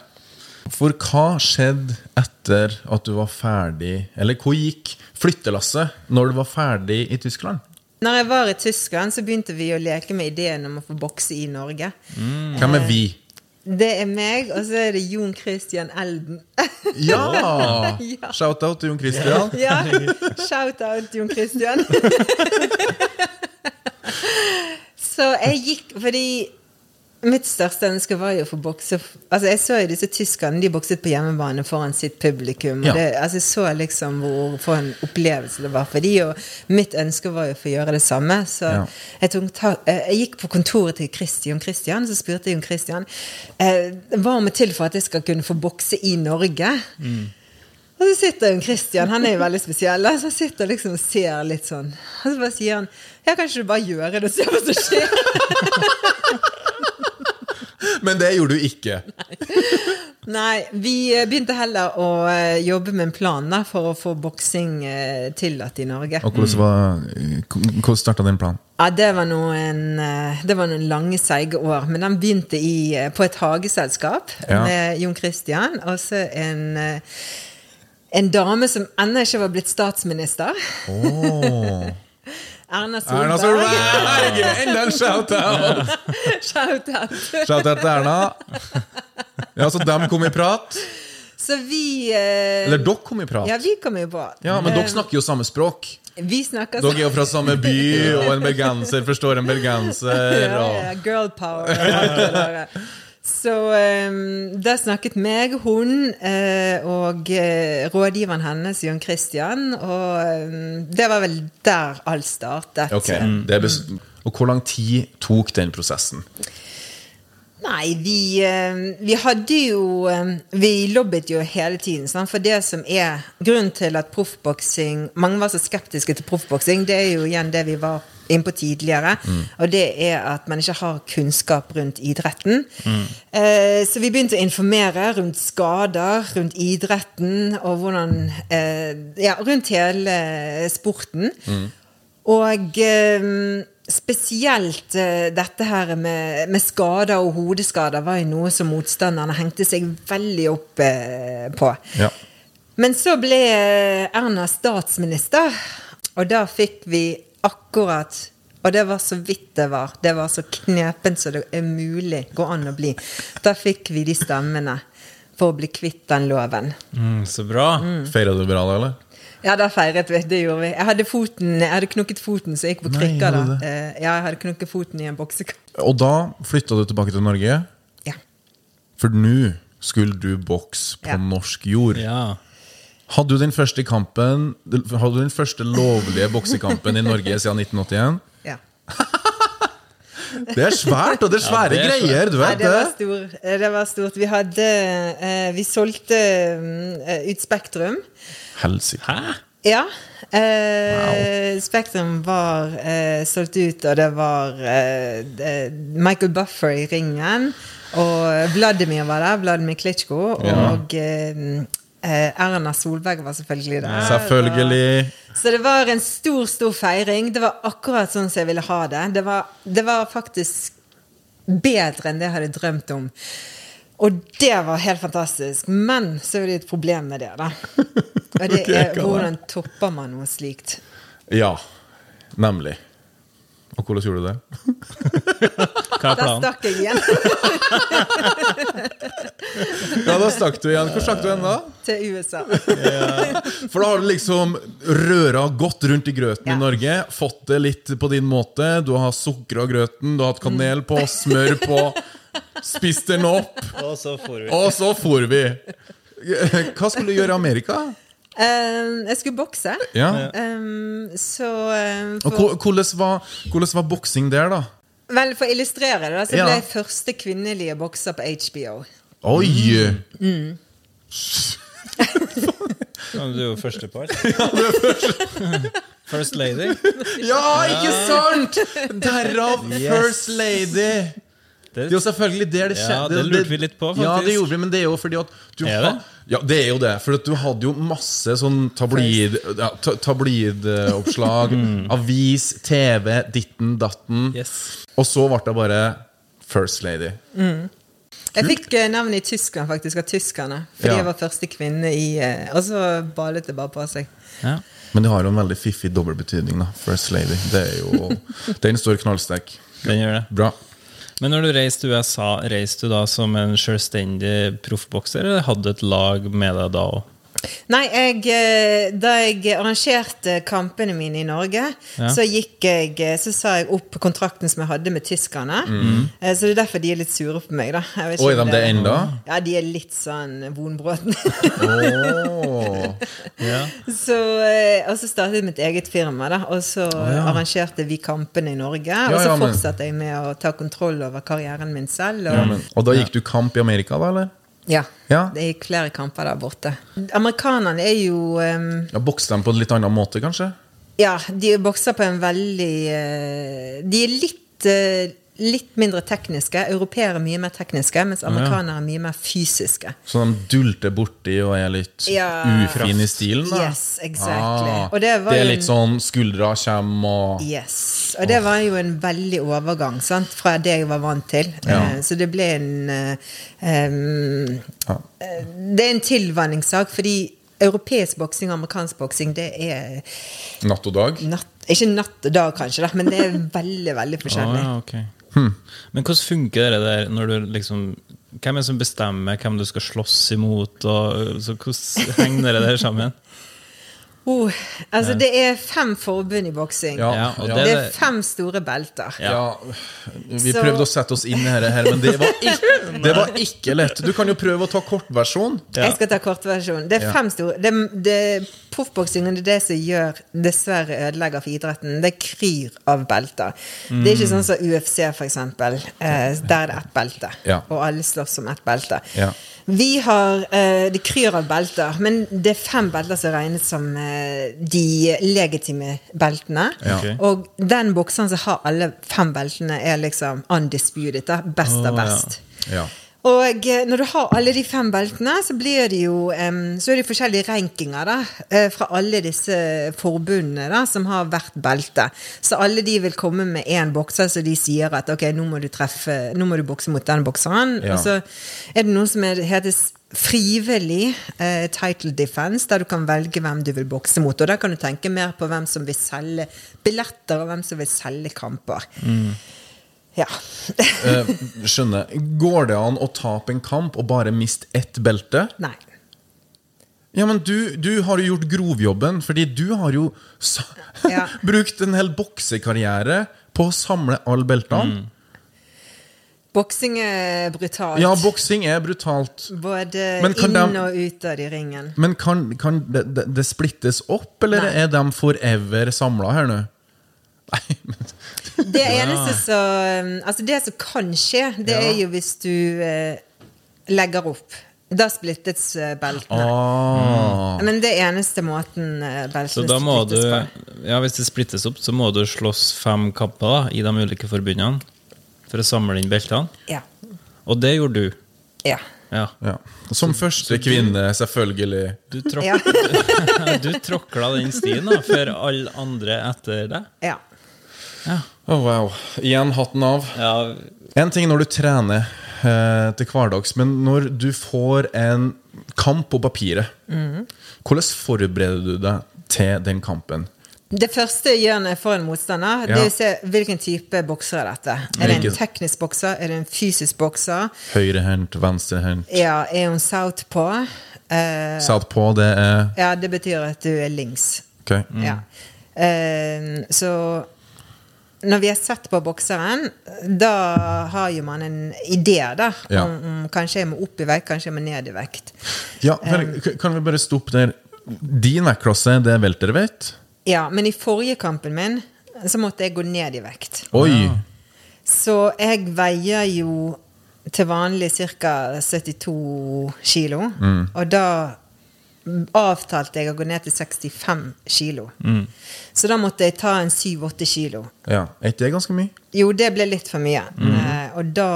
[SPEAKER 4] For hva skjedde etter at du var ferdig Eller hvor gikk flyttelasset når du var ferdig i Tyskland?
[SPEAKER 2] Når jeg var i Tyskland, så begynte vi å leke med ideen om å få bokse i Norge. Mm.
[SPEAKER 4] Hvem er vi?
[SPEAKER 2] Det er meg, og så er det Jon Christian Elden.
[SPEAKER 4] Ja!
[SPEAKER 2] Ja.
[SPEAKER 4] Shout-out til Jon Christian.
[SPEAKER 2] Ja, shout-out Jon Christian. så jeg gikk fordi Mitt største ønske var jo å få bokse Altså Jeg så jo disse tyskerne. De bokset på hjemmebane foran sitt publikum.
[SPEAKER 4] Ja.
[SPEAKER 2] Og det, altså Jeg så liksom hvor for en opplevelse det var for de Og mitt ønske var jo å få gjøre det samme. Så
[SPEAKER 4] Ja.
[SPEAKER 2] jeg, tok, ta- eh, jeg gikk på kontoret til Christian Christian, så spurte jeg Jon Christian eh, hva må til for at jeg skal kunne få bokse i Norge.
[SPEAKER 4] Mm.
[SPEAKER 2] Og så sitter jo Christian, han er jo veldig spesiell, og så sitter han liksom og ser litt sånn. Og så bare sier han Ja, kanskje du bare gjør det og ser hva som skjer?
[SPEAKER 4] Men det gjorde du ikke.
[SPEAKER 2] Nei, vi eh, begynte heller å eh, jobbe med en plan da, for å få boksing eh, tillatt i Norge.
[SPEAKER 4] Og hvordan, var- eh, hvordan starta den planen?
[SPEAKER 2] Ja, det var, noen, eh, det var noen lange, seige år. Men den begynte i, eh, på et hageselskap
[SPEAKER 4] Ja.
[SPEAKER 2] med Jon Christian. Og så en, eh, en dame som ennå ikke var blitt statsminister. Erna
[SPEAKER 4] Erna
[SPEAKER 2] Solberg.
[SPEAKER 4] Solberg! Enda en shout-out!
[SPEAKER 2] Shout-out.
[SPEAKER 4] Shout-out til Erna. Ja, så dem kom i prat.
[SPEAKER 2] Så vi eh,
[SPEAKER 4] Eller dere kom i prat.
[SPEAKER 2] Ja, vi kom jo på.
[SPEAKER 4] Ja, men dere
[SPEAKER 2] Eh,
[SPEAKER 4] snakker jo samme språk.
[SPEAKER 2] Vi snakker
[SPEAKER 4] Dere er jo fra samme by, og en bergenser forstår en bergenser.
[SPEAKER 2] Ja, ja,
[SPEAKER 4] Og...
[SPEAKER 2] girl power. og alt det der. Så um, der snakket meg, hun eh, og eh, rådgiveren hennes, Jon Christian, og um, det var vel der alt startet.
[SPEAKER 4] Ok, det er bes... Og hvor lang tid tok den prosessen?
[SPEAKER 2] Nei, vi, eh, vi hadde jo eh, Vi lobbet jo hele tiden. Sant? For det som er grunnen til at proffboksing Mange var så skeptiske til proffboksing. Det er jo igjen det vi var inne på tidligere. Og det er at man ikke har kunnskap rundt idretten. Eh, så vi begynte å informere rundt skader, rundt idretten og hvordan eh, Ja, rundt hele sporten. Og eh, spesielt eh, dette her med, med skader og hodeskader var jo noe som motstanderne hengte seg veldig opp eh, på.
[SPEAKER 4] Ja.
[SPEAKER 2] Men så ble eh, Erna statsminister, og da fikk vi akkurat og det var så vidt det var. Det var så knepent som det er mulig går an å bli. Da fikk vi de stemmene for å bli kvitt den loven.
[SPEAKER 5] Mm, så bra.
[SPEAKER 4] Feira du bra da, eller?
[SPEAKER 2] Ja, da feiret vi. Det gjorde vi. Jeg hadde, foten, jeg hadde knukket foten, så jeg gikk på
[SPEAKER 4] Nei,
[SPEAKER 2] krykker. da.
[SPEAKER 4] gjorde du det?
[SPEAKER 2] Eh, Ja, jeg hadde knukket foten i en boksekamp.
[SPEAKER 4] Og da flytta du tilbake til Norge,
[SPEAKER 2] Ja.
[SPEAKER 4] for nå skulle du bokse på
[SPEAKER 2] Ja.
[SPEAKER 4] norsk jord.
[SPEAKER 5] Ja.
[SPEAKER 4] Hadde du den første kampen Hadde du den første lovlige boksekampen i Norge siden 1981?
[SPEAKER 2] ja.
[SPEAKER 4] Det er svært, og det er svære
[SPEAKER 5] Ja, det er svært.
[SPEAKER 4] greier, du
[SPEAKER 2] Nei,
[SPEAKER 4] vet
[SPEAKER 2] det, var
[SPEAKER 4] det.
[SPEAKER 2] stor, eh, det var stort. Vi hadde eh, Vi solgte mm, eh, ut Spektrum.
[SPEAKER 4] Helsike.
[SPEAKER 5] Hæ?
[SPEAKER 2] Ja. Eh, Spektrum var eh, solgt ut, og det var eh, det- Michael Buffer i ringen. Og Vladimir var der, Vladimir Klitsjko. Og eh, eh, Erna Solberg var selvfølgelig der.
[SPEAKER 4] Selvfølgelig.
[SPEAKER 2] Så det var en stor, stor feiring. Det var akkurat sånn som jeg ville ha det. Det var, det var faktisk bedre enn det jeg hadde drømt om. Og det var helt fantastisk. Men så er det et problem med det, da. Og det
[SPEAKER 4] Ok, hva
[SPEAKER 2] er
[SPEAKER 4] da?
[SPEAKER 2] hvordan topper man noe slikt?
[SPEAKER 4] Ja, nemlig. Og hvordan gjorde du det?
[SPEAKER 5] Hva er
[SPEAKER 2] Der
[SPEAKER 5] planen?
[SPEAKER 2] stakk jeg igjen
[SPEAKER 4] Ja, da stakk du igjen. Hvor stakk du igjen da?
[SPEAKER 2] til USA.
[SPEAKER 4] For da har du liksom røra godt rundt i grøten
[SPEAKER 2] Ja.
[SPEAKER 4] i Norge. Fått det litt på din måte. Du har sukra grøten, du har hatt kanel
[SPEAKER 5] Mm.
[SPEAKER 4] på, smør på. Spist den opp,
[SPEAKER 5] Og så får vi.
[SPEAKER 4] og så for vi. Hva skulle du gjøre i Amerika?
[SPEAKER 2] Eh, jeg skulle bokse.
[SPEAKER 4] Ja.
[SPEAKER 2] Eh, så eh,
[SPEAKER 4] Og
[SPEAKER 2] for,
[SPEAKER 4] ko- hvordan var, hvordan var boksing der, da?
[SPEAKER 2] Vel, for å illustrere det, da, så
[SPEAKER 4] Ja.
[SPEAKER 2] ble jeg første kvinnelige bokser på HBO.
[SPEAKER 4] Oi!
[SPEAKER 5] Ja, men Du er jo førstepar. First lady.
[SPEAKER 4] Ja, ikke sant?! Derav First Lady.
[SPEAKER 5] Det,
[SPEAKER 4] Det er jo selvfølgelig der det
[SPEAKER 5] Ja,
[SPEAKER 4] skjedde.
[SPEAKER 5] det lurte vi litt på, faktisk.
[SPEAKER 4] Ja, det gjorde vi, men det er jo fordi at du
[SPEAKER 5] Er det?
[SPEAKER 4] har- Ja, det er jo det. For at du hadde jo masse sånn tabloid ja, ta- tabloidoppslag, avis, TV, ditten, datten.
[SPEAKER 5] Mm. yes.
[SPEAKER 4] Og så ble det bare First Lady.
[SPEAKER 2] Jeg fikk eh, navnet i Tyskland, faktisk, av tyskerne. Fordi
[SPEAKER 4] Ja.
[SPEAKER 2] jeg var første kvinne i eh, Og så balet det bare på seg.
[SPEAKER 5] Ja.
[SPEAKER 4] Men det har jo en veldig fiffig dobbeltbetydning, da. First Lady. Det er jo Den står knallsterk.
[SPEAKER 5] Den gjør det.
[SPEAKER 4] Bra.
[SPEAKER 5] Men når du reiste til USA, reiste du da som en selvstendig proffbokser, eller hadde du et lag med deg da òg?
[SPEAKER 2] Nei, jeg, eh, da jeg arrangerte kampene mine i Norge,
[SPEAKER 5] Ja.
[SPEAKER 2] så gikk jeg eh, Så sa jeg opp kontrakten som jeg hadde med tyskerne. Eh, Så det er derfor de er litt sure på meg, da. Jeg vet ikke
[SPEAKER 4] Mm. Oi,
[SPEAKER 2] om
[SPEAKER 4] dem det enda?
[SPEAKER 2] Ja, de er litt sånn vonbråten.
[SPEAKER 4] Åh.
[SPEAKER 5] Ja.
[SPEAKER 2] Så, eh, og så startet jeg mitt eget firma, da, og så arrangerte vi kampene i Norge. og så
[SPEAKER 4] ja, men-
[SPEAKER 2] fortsatte jeg med å ta kontroll over karrieren min selv. Og,
[SPEAKER 4] Ja, men- Og da gikk du kamp i Amerika, da, eller?
[SPEAKER 2] ja,
[SPEAKER 4] Ja.
[SPEAKER 2] Det gikk flere kamper der borte. Amerikanerne er jo eh,
[SPEAKER 4] Ja, Bokste dem på en litt annen måte, kanskje?
[SPEAKER 2] Ja, de bokser på en veldig eh, De er litt eh, Litt mindre tekniske. Europeere er mye mer tekniske, mens amerikanere er mye mer fysiske.
[SPEAKER 4] Så de dulter borti og er litt
[SPEAKER 2] Ja.
[SPEAKER 4] ufin i stilen? da? Ah.
[SPEAKER 2] Yes, exactly. Og det var
[SPEAKER 4] det er
[SPEAKER 2] jo en-
[SPEAKER 4] litt sånn skuldra kommer og
[SPEAKER 2] Yes. Og det var jo en veldig overgang sant? fra det jeg var vant til.
[SPEAKER 4] Ja.
[SPEAKER 2] Eh, Så det ble en eh, em,
[SPEAKER 4] ja.
[SPEAKER 2] eh, Det er en tilvanningssak, fordi europeisk boksing og amerikansk boksing, det er
[SPEAKER 4] Natt og dag?
[SPEAKER 2] natt Ikke natt og dag, kanskje, da, men det er veldig veldig
[SPEAKER 5] Ah,
[SPEAKER 2] forskjellig.
[SPEAKER 5] ja, ok. Men hvordan funker det der når du liksom Hvem er det som bestemmer hvem du skal slåss imot? Og, så hvordan henger det der sammen?
[SPEAKER 2] Oh, altså, det er fem forbund i boksing.
[SPEAKER 4] Ja,
[SPEAKER 5] Ja, og
[SPEAKER 4] ja.
[SPEAKER 5] det-
[SPEAKER 2] Det er fem store belter.
[SPEAKER 4] Ja, vi
[SPEAKER 2] Så-
[SPEAKER 4] prøvde å sette oss inn i dette her, men det var, ikke, det var ikke lett. Du kan jo prøve å ta kortversjon.
[SPEAKER 5] Ja.
[SPEAKER 2] Jeg skal ta kortversjonen. Det er fem store det, det, Proffboksingen er det som gjør dessverre ødelegger for idretten. Det kryr av belter. Det er ikke sånn som UFC, for eksempel. Eh, der er det ett belte,
[SPEAKER 4] Ja.
[SPEAKER 2] og alle slåss om ett belte.
[SPEAKER 4] Ja.
[SPEAKER 2] Vi har eh, Det kryr av belter, men det er fem belter som regnes som eh, de legitime beltene.
[SPEAKER 4] Ja.
[SPEAKER 5] Ok.
[SPEAKER 2] Og den bokseren som har alle fem beltene, er liksom undisputed. Da. Best
[SPEAKER 5] Å,
[SPEAKER 2] av
[SPEAKER 5] ja.
[SPEAKER 2] best.
[SPEAKER 4] Ja.
[SPEAKER 2] Og eh, når du har alle de fem beltene, så blir det jo em, Så er det forskjellige rankinger da, eh, fra alle disse forbundene da, som har hvert belte. Så alle de vil komme med én bokser, så de sier at ok, nå må du treffe, nå må du bokse mot den bokseren.
[SPEAKER 4] Ja.
[SPEAKER 2] Og så er det noe som er, heter s- frivillig eh, title defense, der du kan velge hvem du vil bokse mot. Og der kan du tenke mer på hvem som vil selge billetter, og hvem som vil selge kamper. Ja.
[SPEAKER 4] Mm. Eh, skjønner. Går det an å tape en kamp og bare miste ett belte?
[SPEAKER 2] Nei.
[SPEAKER 4] Ja, men du, du har jo gjort grovjobben, fordi du har jo sa
[SPEAKER 2] Ja.
[SPEAKER 4] brukt en hel boksekarriere på å samle alle beltene.
[SPEAKER 2] Boksing er brutalt.
[SPEAKER 4] Ja, boksing er brutalt.
[SPEAKER 2] Både
[SPEAKER 4] Men kan
[SPEAKER 2] inn
[SPEAKER 4] dem-
[SPEAKER 2] og ut av de ringen.
[SPEAKER 4] Men kan, kan det, det, det splittes opp, eller
[SPEAKER 2] Nei.
[SPEAKER 4] er de forever samla her nå? Nei, men
[SPEAKER 2] Det eneste som Altså, det som kan skje, det
[SPEAKER 4] Ja.
[SPEAKER 2] er jo hvis du eh, legger opp. Da splittes eh, beltene.
[SPEAKER 4] ah.
[SPEAKER 2] Men det er eneste måten eh,
[SPEAKER 5] Så
[SPEAKER 2] beltene
[SPEAKER 5] da må du
[SPEAKER 2] splittes på.
[SPEAKER 5] Ja, Hvis det splittes opp, så må du slåss fem kapper da, i de ulike forbundene for å samle inn beltene.
[SPEAKER 2] Ja.
[SPEAKER 5] Og det gjorde du.
[SPEAKER 2] Ja.
[SPEAKER 5] Ja.
[SPEAKER 4] ja. Som første kvinne, selvfølgelig.
[SPEAKER 5] Du, tråk,
[SPEAKER 2] Ja.
[SPEAKER 5] du tråkla den stien da, for alle andre etter deg.
[SPEAKER 2] ja.
[SPEAKER 4] Å, Oh, wow. Igjen hatten av.
[SPEAKER 5] Ja,
[SPEAKER 4] En ting når du trener eh, til hverdags, men når du får en kamp på papiret,
[SPEAKER 2] Mhm.
[SPEAKER 4] hvordan forbereder du deg til den kampen?
[SPEAKER 2] Det første jeg gjør når jeg får en motstander,
[SPEAKER 4] Ja.
[SPEAKER 2] det er å se hvilken type bokser er dette. Er det en
[SPEAKER 4] Hvilken-
[SPEAKER 2] teknisk bokser? Er det en fysisk bokser?
[SPEAKER 4] Høyrehendt, venstrehendt,
[SPEAKER 2] Ja, er hun southpaw? Eh,
[SPEAKER 4] southpaw, det er
[SPEAKER 2] ja, det betyr at du er links.
[SPEAKER 4] Ok.
[SPEAKER 2] Ja. Eh, så når vi har sett på bokseren, da har jo man en idé, da.
[SPEAKER 4] Ja.
[SPEAKER 2] Om, om kanskje jeg må opp i vekt, kanskje jeg må ned i vekt.
[SPEAKER 4] Ja,
[SPEAKER 2] Eh.
[SPEAKER 4] vel, k- kan vi bare stoppe der? Din vektklasse, det er welterweight?
[SPEAKER 2] Ja, men i forrige kampen min så måtte jeg gå ned i vekt.
[SPEAKER 4] Oi!
[SPEAKER 2] Så jeg veier jo til vanlig ca. 72 kilo. Og da avtalte jeg å gå ned til 65 kilo. Så da måtte jeg ta en 7-8 kilo.
[SPEAKER 4] Ja, Er ikke det ganske mye?
[SPEAKER 2] Jo, det ble litt for mye. Eh, og da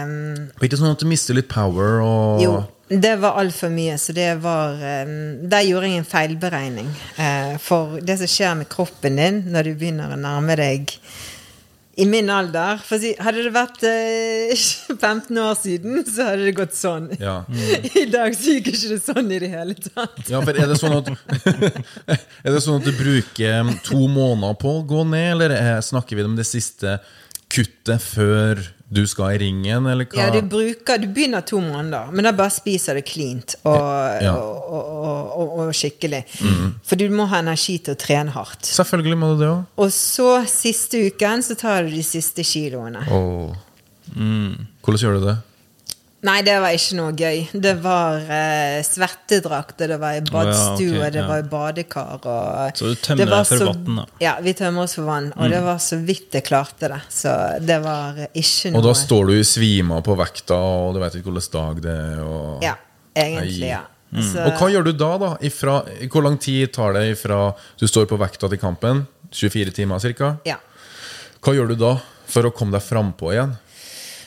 [SPEAKER 2] eh,
[SPEAKER 4] Og ikke sånn at du mister litt power og
[SPEAKER 2] Jo, det var altfor mye, så det var eh, Der gjorde jeg en feilberegning. eh, for det som skjer med kroppen din når du begynner å nærme deg i min alder for å si, Hadde det vært eh, 15 år siden, så hadde det gått sånn.
[SPEAKER 4] Ja.
[SPEAKER 2] I dag så gikk ikke det sånn i det hele tatt.
[SPEAKER 4] Ja, for er det sånn at Er det sånn at du bruker to måneder på å gå ned, eller er- snakker vi om det siste kuttet før du skal i ringen, eller hva?
[SPEAKER 2] Ja, du bruker Du begynner to måneder, men da bare spiser du cleant og,
[SPEAKER 4] Ja.
[SPEAKER 2] og, og, og, og skikkelig.
[SPEAKER 5] Mm.
[SPEAKER 2] For du må ha energi til å trene hardt.
[SPEAKER 4] Selvfølgelig må du det òg.
[SPEAKER 2] Og så siste uken så tar du de siste kiloene.
[SPEAKER 4] Mm. Hvordan gjør du det?
[SPEAKER 2] Nei, det var ikke noe gøy. Det var eh, svettedrakt, og det var i badstue,
[SPEAKER 5] Å, ja, ok,
[SPEAKER 2] og det
[SPEAKER 5] ja.
[SPEAKER 2] var i badekar. Og
[SPEAKER 5] Så du tømmer
[SPEAKER 2] det var
[SPEAKER 5] deg for
[SPEAKER 2] så-
[SPEAKER 5] vann, da. Mm.
[SPEAKER 2] Ja, vi tømmer oss for vann. Og det var så vidt jeg klarte det. Så det var ikke noe
[SPEAKER 4] Og da står du i svima på vekta, og du vet ikke hvilken dag det er. Og...
[SPEAKER 2] Ja, egentlig,
[SPEAKER 4] Ai.
[SPEAKER 2] ja.
[SPEAKER 5] Mm.
[SPEAKER 2] Så,
[SPEAKER 4] Og hva gjør du da? da? Ifra, hvor lang tid tar det ifra du står på vekta til kampen? 24 timer ca.?
[SPEAKER 2] ja.
[SPEAKER 4] Hva gjør du da for å komme deg frampå igjen?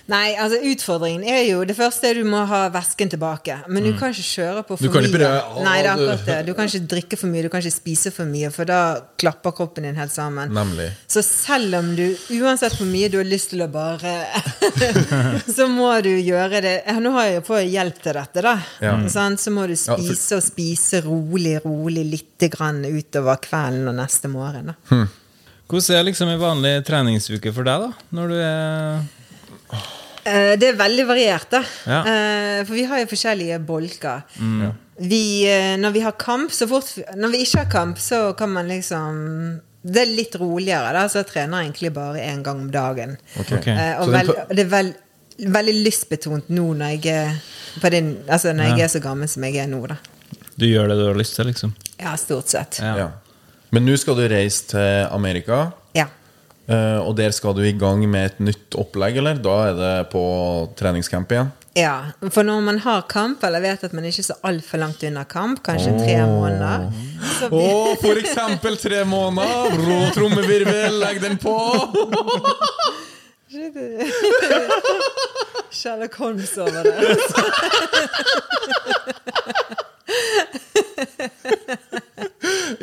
[SPEAKER 2] Nei, altså utfordringen er jo Det første er du må ha væsken tilbake. Men du kan ikke kjøre på for
[SPEAKER 4] Mm. Du kan ikke
[SPEAKER 2] mye.
[SPEAKER 4] prøve- Å,
[SPEAKER 2] Nei, det er
[SPEAKER 4] du-
[SPEAKER 2] akkurat det. Du kan ikke drikke for mye, du kan ikke spise for mye, for da klapper kroppen din helt sammen.
[SPEAKER 4] Nemlig.
[SPEAKER 2] Så selv om du, uansett hvor mye du har lyst til å bare Så må du gjøre det Ja, Nå har jeg jo fått hjelp til dette, da.
[SPEAKER 4] Ja.
[SPEAKER 2] Sant? Så må du
[SPEAKER 4] for-
[SPEAKER 2] spise og spise rolig, rolig, lite grann utover kvelden og neste morgen. da
[SPEAKER 5] Hvordan er liksom en vanlig treningsuke for deg, da? Når du er
[SPEAKER 2] Eh, Det er veldig variert, da.
[SPEAKER 5] Ja. Mm.
[SPEAKER 2] Eh, For vi har jo forskjellige bolker. Vi, eh, når vi har kamp, så fort Når vi ikke har kamp, så kan man liksom Det er litt roligere, da, så jeg trener egentlig bare én gang om dagen.
[SPEAKER 5] Ok.
[SPEAKER 2] Eh, Og
[SPEAKER 4] Så den
[SPEAKER 2] vel,
[SPEAKER 4] tar-
[SPEAKER 2] det er vel, veldig lystbetont nå når jeg er på din, Altså når jeg er så gammel som jeg er nå, da.
[SPEAKER 5] Du gjør det du har lyst til, liksom?
[SPEAKER 2] Ja, stort sett.
[SPEAKER 5] Ja.
[SPEAKER 4] Ja. Men nå skal du reise til Amerika,
[SPEAKER 2] Ja.
[SPEAKER 4] eh, og der skal du i gang med et nytt opplegg, eller? Da er det på treningscamp igjen?
[SPEAKER 2] ja. For når man har kamp, eller vet at man ikke er så altfor langt unna kamp, kanskje tre måneder
[SPEAKER 4] Å,
[SPEAKER 2] så blir,
[SPEAKER 4] for eksempel tre måneder! Rå trommevirvel, legg den på!
[SPEAKER 2] Sherlock Holmes over det.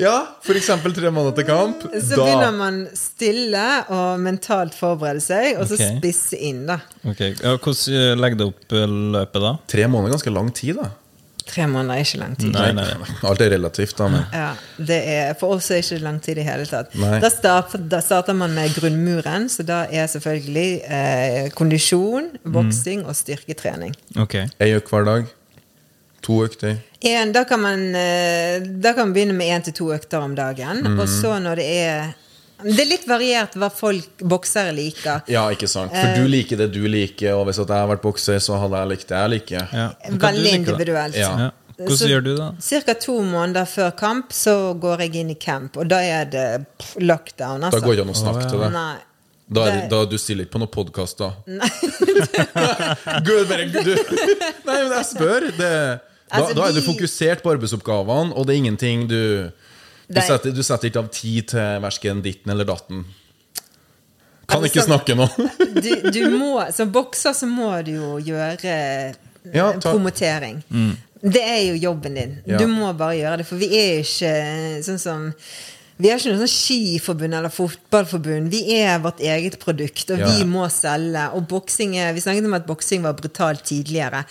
[SPEAKER 4] Ja, for eksempel tre måneder til kamp.
[SPEAKER 2] Så
[SPEAKER 4] Da
[SPEAKER 2] begynner man stille og mentalt forberede seg, og så
[SPEAKER 5] Ok.
[SPEAKER 2] spisse inn, da.
[SPEAKER 5] Ok, ja, Hvordan legger du opp eh, løpet da?
[SPEAKER 4] Tre måneder er ganske lang tid, da.
[SPEAKER 2] Tre måneder er ikke lang tid.
[SPEAKER 5] Nei, nei, nei.
[SPEAKER 4] Alt er relativt, da. Men.
[SPEAKER 2] Ja, det er, for oss er det ikke lang tid i hele tatt.
[SPEAKER 4] Nei.
[SPEAKER 2] Da starter, da starter man med grunnmuren, så da er selvfølgelig eh, kondisjon, boksing og styrketrening.
[SPEAKER 5] Ok.
[SPEAKER 4] Ei økt hver dag. To økter.
[SPEAKER 2] En, da, kan man, eh, da kan man begynne med én til to økter om dagen. Og så når det er Det er litt variert hva folk boksere liker.
[SPEAKER 4] Ja, ikke sant. For du liker det du liker, og hvis at jeg har vært bokser, så hadde jeg likt det jeg liker.
[SPEAKER 5] Ja. Hva du
[SPEAKER 2] Veldig
[SPEAKER 5] liker, da?
[SPEAKER 2] individuelt.
[SPEAKER 4] Ja.
[SPEAKER 5] Ja. Hvordan
[SPEAKER 2] Så-
[SPEAKER 5] gjør du det?
[SPEAKER 2] Cirka to måneder før kamp så går jeg inn i camp, og da er det pff, lockdown,
[SPEAKER 4] Da
[SPEAKER 2] altså.
[SPEAKER 4] går det ikke an å snakke til deg.
[SPEAKER 2] Nei.
[SPEAKER 4] Da, er,
[SPEAKER 2] det-
[SPEAKER 4] da du stiller ikke på noen podkast, da? Gud, bare du. Nei, men jeg spør. Det, da,
[SPEAKER 2] Altså,
[SPEAKER 4] da er du
[SPEAKER 2] vi-
[SPEAKER 4] fokusert på arbeidsoppgavene, og det er ingenting du Du
[SPEAKER 2] Nei.
[SPEAKER 4] setter, du setter ikke av tid til verken ditten eller datten. Kan
[SPEAKER 2] Altså,
[SPEAKER 4] ikke
[SPEAKER 2] sånn-
[SPEAKER 4] snakke nå.
[SPEAKER 2] Du, du må, som bokser så må du jo gjøre eh,
[SPEAKER 4] Ja, ta-
[SPEAKER 2] promotering.
[SPEAKER 5] Mm.
[SPEAKER 2] Det er jo jobben din.
[SPEAKER 4] Ja.
[SPEAKER 2] Du må bare gjøre det, for vi er ikke sånn som vi er ikke noe sånn skiforbund eller fotballforbund. Vi er vårt eget produkt, og
[SPEAKER 4] Ja.
[SPEAKER 2] vi må selge. Og boksing er, Vi snakket om at boksing var brutalt tidligere.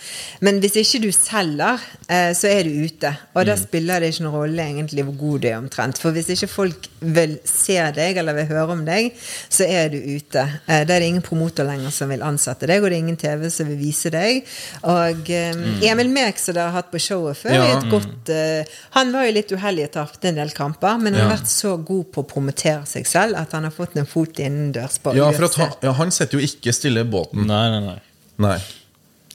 [SPEAKER 2] Men hvis ikke du selger, eh, så er du ute. Og
[SPEAKER 4] Mm.
[SPEAKER 2] da spiller det ikke noen rolle egentlig hvor god du er, omtrent. For hvis ikke folk vil se deg eller vil høre om deg, så er du ute. Eh, Da er det ingen promotor lenger som vil ansette deg, og det er ingen TV som vil vise deg. Og eh, Emil Mek, som dere har hatt på showet
[SPEAKER 4] Mm.
[SPEAKER 2] før,
[SPEAKER 4] Ja. Mm.
[SPEAKER 2] er et godt eh, Han var jo litt uheldig og tapte en del kamper, men han har vært så god på å promotere seg selv at han har fått en fot innendørs på
[SPEAKER 4] Ja, for at
[SPEAKER 2] UFC.
[SPEAKER 4] han, ja, han sitter jo ikke stille i båten.
[SPEAKER 5] Nei, nei, nei.
[SPEAKER 4] Nei.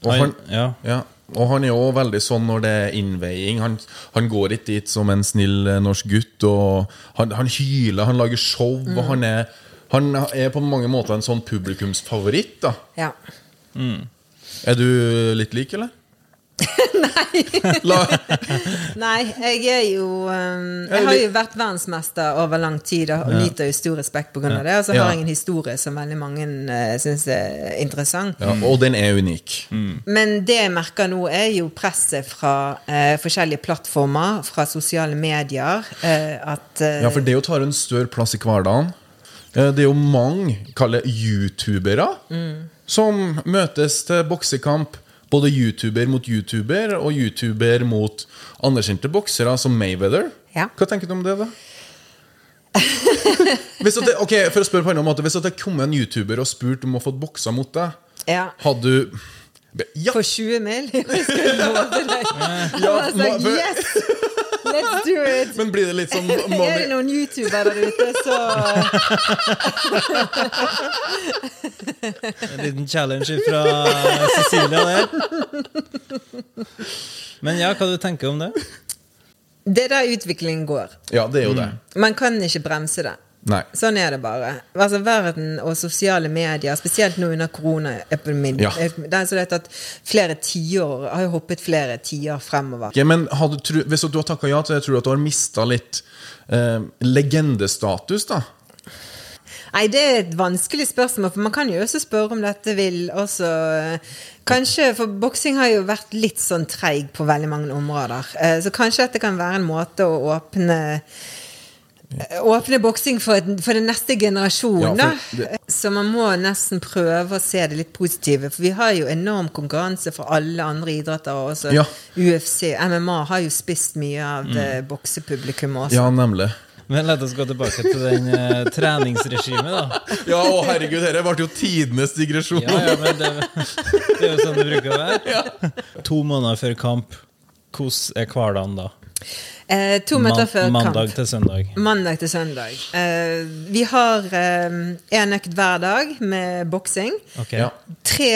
[SPEAKER 4] Og
[SPEAKER 5] Han-
[SPEAKER 4] han,
[SPEAKER 5] ja.
[SPEAKER 4] og han er jo veldig sånn når det er innveiing. Han, han går ikke dit som en snill eh, norsk gutt. Og han, han hyler, han lager show. Og han er, han er på mange måter en sånn publikumsfavoritt. da
[SPEAKER 2] Ja.
[SPEAKER 4] Er du litt lik, eller? Nei! La,
[SPEAKER 2] Nei, jeg er jo eh, Jeg har jo vært verdensmester over lang tid og nyter jo stor respekt pga. av det. Og så
[SPEAKER 4] Ja.
[SPEAKER 2] har jeg en historie som veldig mange uh, syns er interessant.
[SPEAKER 4] ja, og den er unik.
[SPEAKER 2] Men det jeg merker nå, er jo presset fra eh, forskjellige plattformer, fra sosiale medier, eh, at eh,
[SPEAKER 4] Ja, for det å ta en større plass i hverdagen eh, Det er jo mange, kall det youtubere, som møtes til boksekamp. Både youtuber mot youtuber og youtuber mot anerkjente boksere som Mayweather.
[SPEAKER 2] Ja.
[SPEAKER 4] Hva tenker du om det, da? hvis at det, ok, for å spørre på en annen måte Hvis at det kom en youtuber og spurte om å få boksa mot deg,
[SPEAKER 2] Ja.
[SPEAKER 4] hadde du Ja!
[SPEAKER 2] For 20 mil? Jeg skulle love deg.
[SPEAKER 4] ja
[SPEAKER 2] Og jeg
[SPEAKER 4] ma-
[SPEAKER 2] sa
[SPEAKER 4] for-
[SPEAKER 2] yes! Let's do it!
[SPEAKER 4] men blir det litt sånn
[SPEAKER 2] Er det
[SPEAKER 4] money,
[SPEAKER 2] noen youtubere der ute, så
[SPEAKER 5] En liten challenge fra Cecilia der. Men ja, hva du tenker om det?
[SPEAKER 2] Det er der utviklingen går.
[SPEAKER 4] Ja, det er jo det.
[SPEAKER 2] Man kan ikke bremse det.
[SPEAKER 4] Nei.
[SPEAKER 2] Sånn er det bare. Altså, verden og sosiale medier, spesielt nå under koronaepidemien
[SPEAKER 4] Ja.
[SPEAKER 2] Det er så det at flere tiår har jo hoppet flere tiår fremover.
[SPEAKER 4] Ok, men har du, tru- hvis du har takka ja til det, tror du at du har mista litt eh, legendestatus, da?
[SPEAKER 2] Nei, det er et vanskelig spørsmål, for man kan jo også spørre om dette vil også eh, Kanskje, for boksing har jo vært litt sånn treig på veldig mange områder. Eh, Så kanskje dette kan være en måte å åpne eh, Åpne boksing for, et- for den neste
[SPEAKER 4] Ja,
[SPEAKER 2] generasjonen,
[SPEAKER 4] for
[SPEAKER 2] da. Eh,
[SPEAKER 4] det-
[SPEAKER 2] Så man må nesten prøve å se det litt positive. For vi har jo enorm konkurranse fra alle andre idretter. Og også
[SPEAKER 4] Ja.
[SPEAKER 2] UFC, MMA har jo spist mye av mm. boksepublikummet også.
[SPEAKER 4] Ja, nemlig.
[SPEAKER 5] Men la oss gå tilbake til den eh, treningsregimet, da.
[SPEAKER 4] Ja, å herregud, dette ble jo tidenes digresjon.
[SPEAKER 5] Ja, ja, men det, det er jo sånn det bruker å være. To måneder før kamp, hvordan er hverdagen da?
[SPEAKER 2] Eh, to meter
[SPEAKER 5] Man-
[SPEAKER 2] før
[SPEAKER 5] mandag
[SPEAKER 2] kamp.
[SPEAKER 5] til søndag.
[SPEAKER 2] Mandag til søndag. Eh, vi har én økt hver dag med boksing.
[SPEAKER 5] Ok.
[SPEAKER 4] Ja.
[SPEAKER 2] Tre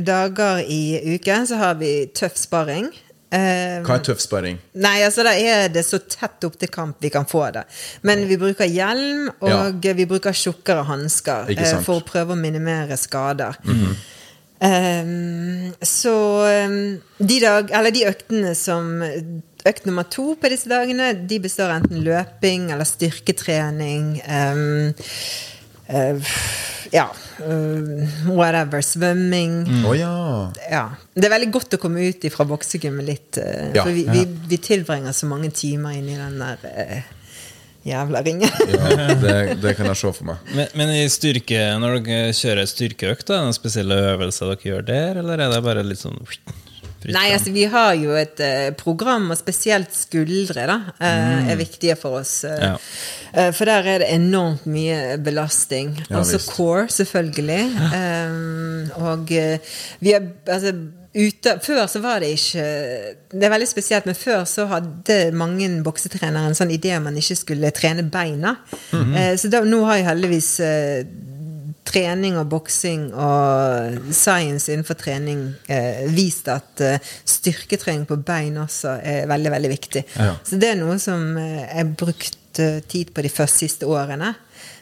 [SPEAKER 2] dager i uken så har vi tøff sparring. Eh,
[SPEAKER 4] Hva er tøff sparring?
[SPEAKER 2] Nei, altså da er det så tett opp til kamp vi kan få det. Men vi bruker hjelm, og vi bruker tjukkere hansker eh,
[SPEAKER 4] Ikke sant. Mhm.
[SPEAKER 2] for å prøve å minimere skader. Eh, så eh, de, dag, eller de øktene som Økt nummer to på disse dagene De består av enten løping eller styrketrening. eh, eh, ja eh, Whatever. Svømming
[SPEAKER 4] Å ja.
[SPEAKER 2] ja. Det er veldig godt å komme ut fra boksegymmet litt. eh,
[SPEAKER 4] Ja,
[SPEAKER 2] for vi,
[SPEAKER 4] ja.
[SPEAKER 2] vi, vi tilbringer så mange timer inni den der eh, jævla ringen.
[SPEAKER 4] ja det, det kan jeg se for meg.
[SPEAKER 5] Men, men i styrke, når dere kjører styrkeøkt, da, er det noen spesielle øvelser dere gjør der, eller er det bare litt sånn fritt
[SPEAKER 2] Nei,
[SPEAKER 5] fram?
[SPEAKER 2] altså vi har jo et eh, program, og spesielt skuldre, da, eh,
[SPEAKER 4] Mm.
[SPEAKER 2] er viktige for oss. eh,
[SPEAKER 5] Ja.
[SPEAKER 2] eh, for der er det enormt mye belastning.
[SPEAKER 4] Ja,
[SPEAKER 2] Også
[SPEAKER 4] visst.
[SPEAKER 2] core, selvfølgelig. Eh, og eh, vi har altså ute, Før så var det ikke Det er veldig spesielt, men før så hadde mange boksetrenere en sånn idé om man ikke skulle trene beina.
[SPEAKER 4] Mhm.
[SPEAKER 2] Eh, så da, nå har jeg heldigvis eh, trening og boksing og science innenfor trening eh, vist at eh, styrketrening på bein også er veldig, veldig viktig.
[SPEAKER 4] Ja.
[SPEAKER 2] Så det er noe som eh, jeg har brukt eh, tid på de første siste årene.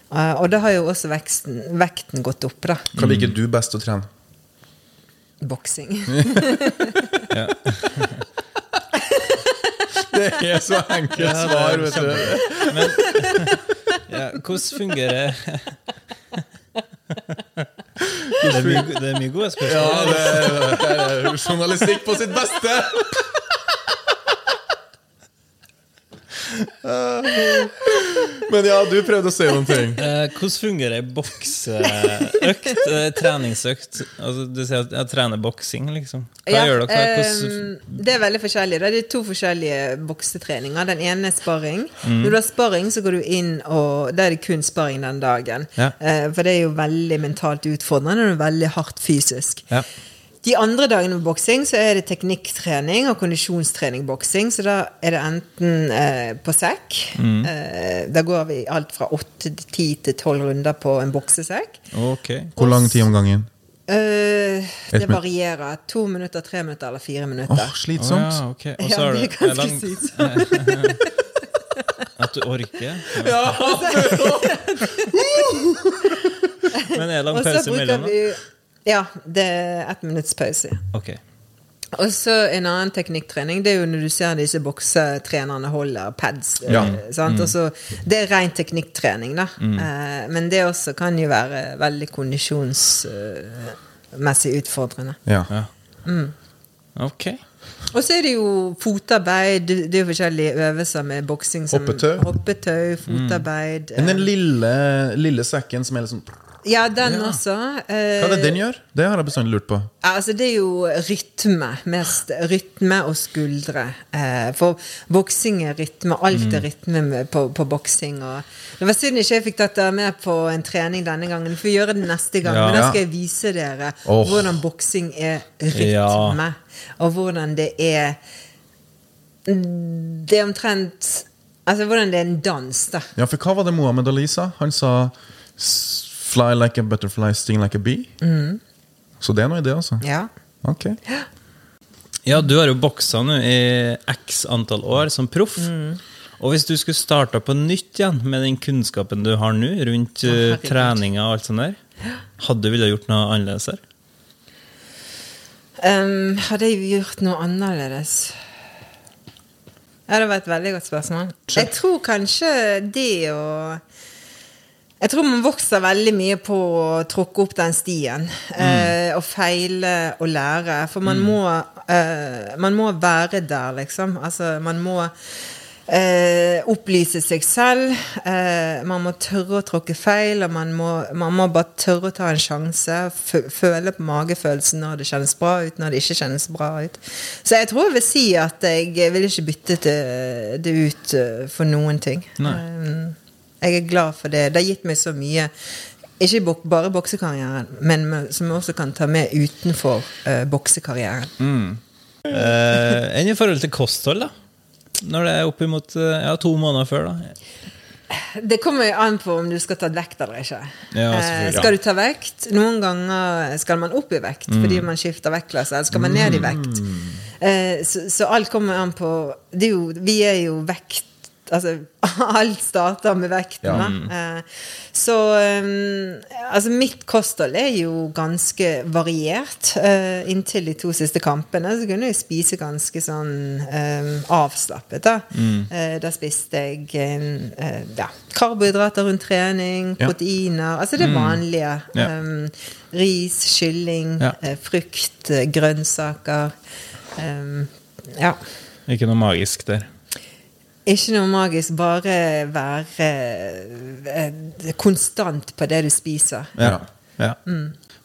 [SPEAKER 2] Eh, og da har jo også veksten, vekten gått opp, da.
[SPEAKER 4] Hva liker du best å trene?
[SPEAKER 2] Boksing.
[SPEAKER 4] Det er så enkelt svar, vet du.
[SPEAKER 5] Ja, hvordan fungerer det? Er mye, det er mye
[SPEAKER 4] Ja,
[SPEAKER 5] gode spørsmål.
[SPEAKER 4] det er, det er journalistikk på sitt beste! Men ja, du prøvde å si noen ting.
[SPEAKER 5] Eh, hvordan fungerer ei bokseøkt? eh, treningsøkt? Altså, du sier at jeg trener boksing, liksom. Hva
[SPEAKER 2] Ja,
[SPEAKER 5] gjør dere? Hva- Hvordan,
[SPEAKER 2] ehm, det er veldig forskjellig. da. Det er to forskjellige boksetreninger. Den ene er sparring.
[SPEAKER 5] Mm.
[SPEAKER 2] Når du har sparring, så går du inn, og da er det kun sparring den dagen.
[SPEAKER 5] Ja.
[SPEAKER 2] Eh, for det er jo veldig mentalt utfordrende, og det er veldig hardt fysisk.
[SPEAKER 5] ja.
[SPEAKER 2] De andre dagene med boksing så er det teknikktrening og kondisjonstrening boksing. Så da er det enten eh, på sekk
[SPEAKER 5] Mm.
[SPEAKER 2] eh, Da går vi alt fra åtte til ti til tolv runder på en boksesekk.
[SPEAKER 5] Ok.
[SPEAKER 4] Hvor lang tid om gangen?
[SPEAKER 2] Eh, det
[SPEAKER 4] minutt.
[SPEAKER 2] varierer. To minutter, tre minutter eller fire
[SPEAKER 4] Åh,
[SPEAKER 2] minutter.
[SPEAKER 5] Å
[SPEAKER 4] slitsomt.
[SPEAKER 5] ja, ok. Og
[SPEAKER 2] Ja,
[SPEAKER 5] så har
[SPEAKER 2] det
[SPEAKER 5] du
[SPEAKER 2] er ganske
[SPEAKER 5] lang-
[SPEAKER 2] sykt.
[SPEAKER 5] At du orker? Ja. Men er det lang
[SPEAKER 2] Og så
[SPEAKER 5] pause
[SPEAKER 2] bruker
[SPEAKER 5] imellom? da?
[SPEAKER 2] vi Ja, det er ett minutts pause.
[SPEAKER 5] Ok.
[SPEAKER 2] Og så en annen teknikktrening, det er jo når du ser disse boksetrenerne holder pads. eh,
[SPEAKER 4] Ja.
[SPEAKER 2] Sant? Og så, det er ren teknikktrening, da. Eh, men det også kan jo være veldig kondisjonsmessig utfordrende.
[SPEAKER 4] Ja.
[SPEAKER 5] Ja.
[SPEAKER 2] Mm.
[SPEAKER 5] Ok.
[SPEAKER 2] Og så er det jo fotarbeid. Det er jo forskjellige øvelser med boksing. som
[SPEAKER 4] Hoppetau.
[SPEAKER 2] Hoppetau, fotarbeid.
[SPEAKER 4] Men
[SPEAKER 2] eh,
[SPEAKER 4] den lille, lille sekken som er litt sånn Hva
[SPEAKER 2] ja, den
[SPEAKER 5] Ja.
[SPEAKER 2] også.
[SPEAKER 4] er det
[SPEAKER 2] eh,
[SPEAKER 4] den gjør? Det har jeg bestandig lurt på.
[SPEAKER 2] Ja, Altså, det er jo rytme. Mest rytme og skuldre. Eh, for boksing er rytme. Alt
[SPEAKER 5] Mm.
[SPEAKER 2] er rytme med, på, på boksing. Og det var synd ikke jeg fikk tatt dere med på en trening denne gangen. Vi får gjøre det neste gang.
[SPEAKER 5] Ja.
[SPEAKER 2] Men da skal jeg vise dere
[SPEAKER 4] Åh.
[SPEAKER 2] hvordan boksing er
[SPEAKER 5] Ja.
[SPEAKER 2] rytme. Og hvordan det er Det er omtrent Altså hvordan det er en dans, da.
[SPEAKER 4] Ja, for hva var det Mohammed Ali sa? Han sa "S- Fly like a butterfly, sting like a bee. Så det er noe i det, altså?
[SPEAKER 2] Mm. Ja.
[SPEAKER 4] Ok.
[SPEAKER 5] Ja, du har jo boksa nå i x antall år som proff. Og hvis du skulle starta på nytt igjen med den kunnskapen du har nå rundt uh,
[SPEAKER 2] herregud.
[SPEAKER 5] treninga og alt sånt der, hadde du villet gjort noe annerledes her?
[SPEAKER 2] Ehm, hadde jeg gjort noe annerledes? Ja, det var et veldig godt spørsmål. Jeg tror kanskje det å Jeg tror man vokser veldig mye på å tråkke opp den stien. eh, og feile og lære. For man må eh, Man må være der, liksom. Altså, man må eh, opplyse seg selv. Eh, man må tørre å tråkke feil, og man må, man må bare tørre å ta en sjanse. fø- Føle på magefølelsen når det kjennes bra ut, når det ikke kjennes bra ut. Så jeg tror jeg vil si at jeg vil ikke bytte det, det ut eh, for noen ting. Eh, Jeg er glad for det. Det har gitt meg så mye. Ikke i bok, bare boksekarrieren, men med, som jeg også kan ta med utenfor eh, boksekarrieren.
[SPEAKER 5] Eh, enn i forhold til kosthold, da? Når det er oppimot eh, ja, to måneder før, da.
[SPEAKER 2] Det kommer jo an på om du skal ta vekt eller ikke.
[SPEAKER 5] Ja,
[SPEAKER 2] eh,
[SPEAKER 5] selvfølgelig.
[SPEAKER 2] skal du ta vekt? Noen ganger skal man opp i vekt
[SPEAKER 5] Mm.
[SPEAKER 2] fordi man skifter vektklasse, eller skal man ned i vekt? Eh, så, så alt kommer an på det er jo, Vi er jo vekt Altså, alt starter med vekten. da.
[SPEAKER 5] Mm.
[SPEAKER 2] Eh, så eh, Altså, mitt kosthold er jo ganske variert. Eh, inntil de to siste kampene så kunne jeg spise ganske sånn eh, avslappet, da.
[SPEAKER 4] Mm.
[SPEAKER 2] Eh, da spiste jeg eh, eh, ja, karbohydrater rundt trening,
[SPEAKER 4] Ja. Mm.
[SPEAKER 2] proteiner Altså det vanlige.
[SPEAKER 4] Ja.
[SPEAKER 2] Eh, ris, kylling,
[SPEAKER 4] Ja.
[SPEAKER 2] eh, frukt, eh, grønnsaker. Eh, ja.
[SPEAKER 5] Ikke noe magisk der.
[SPEAKER 2] Ikke noe magisk, bare være eh, konstant på det du spiser.
[SPEAKER 4] Ja.
[SPEAKER 5] Ja.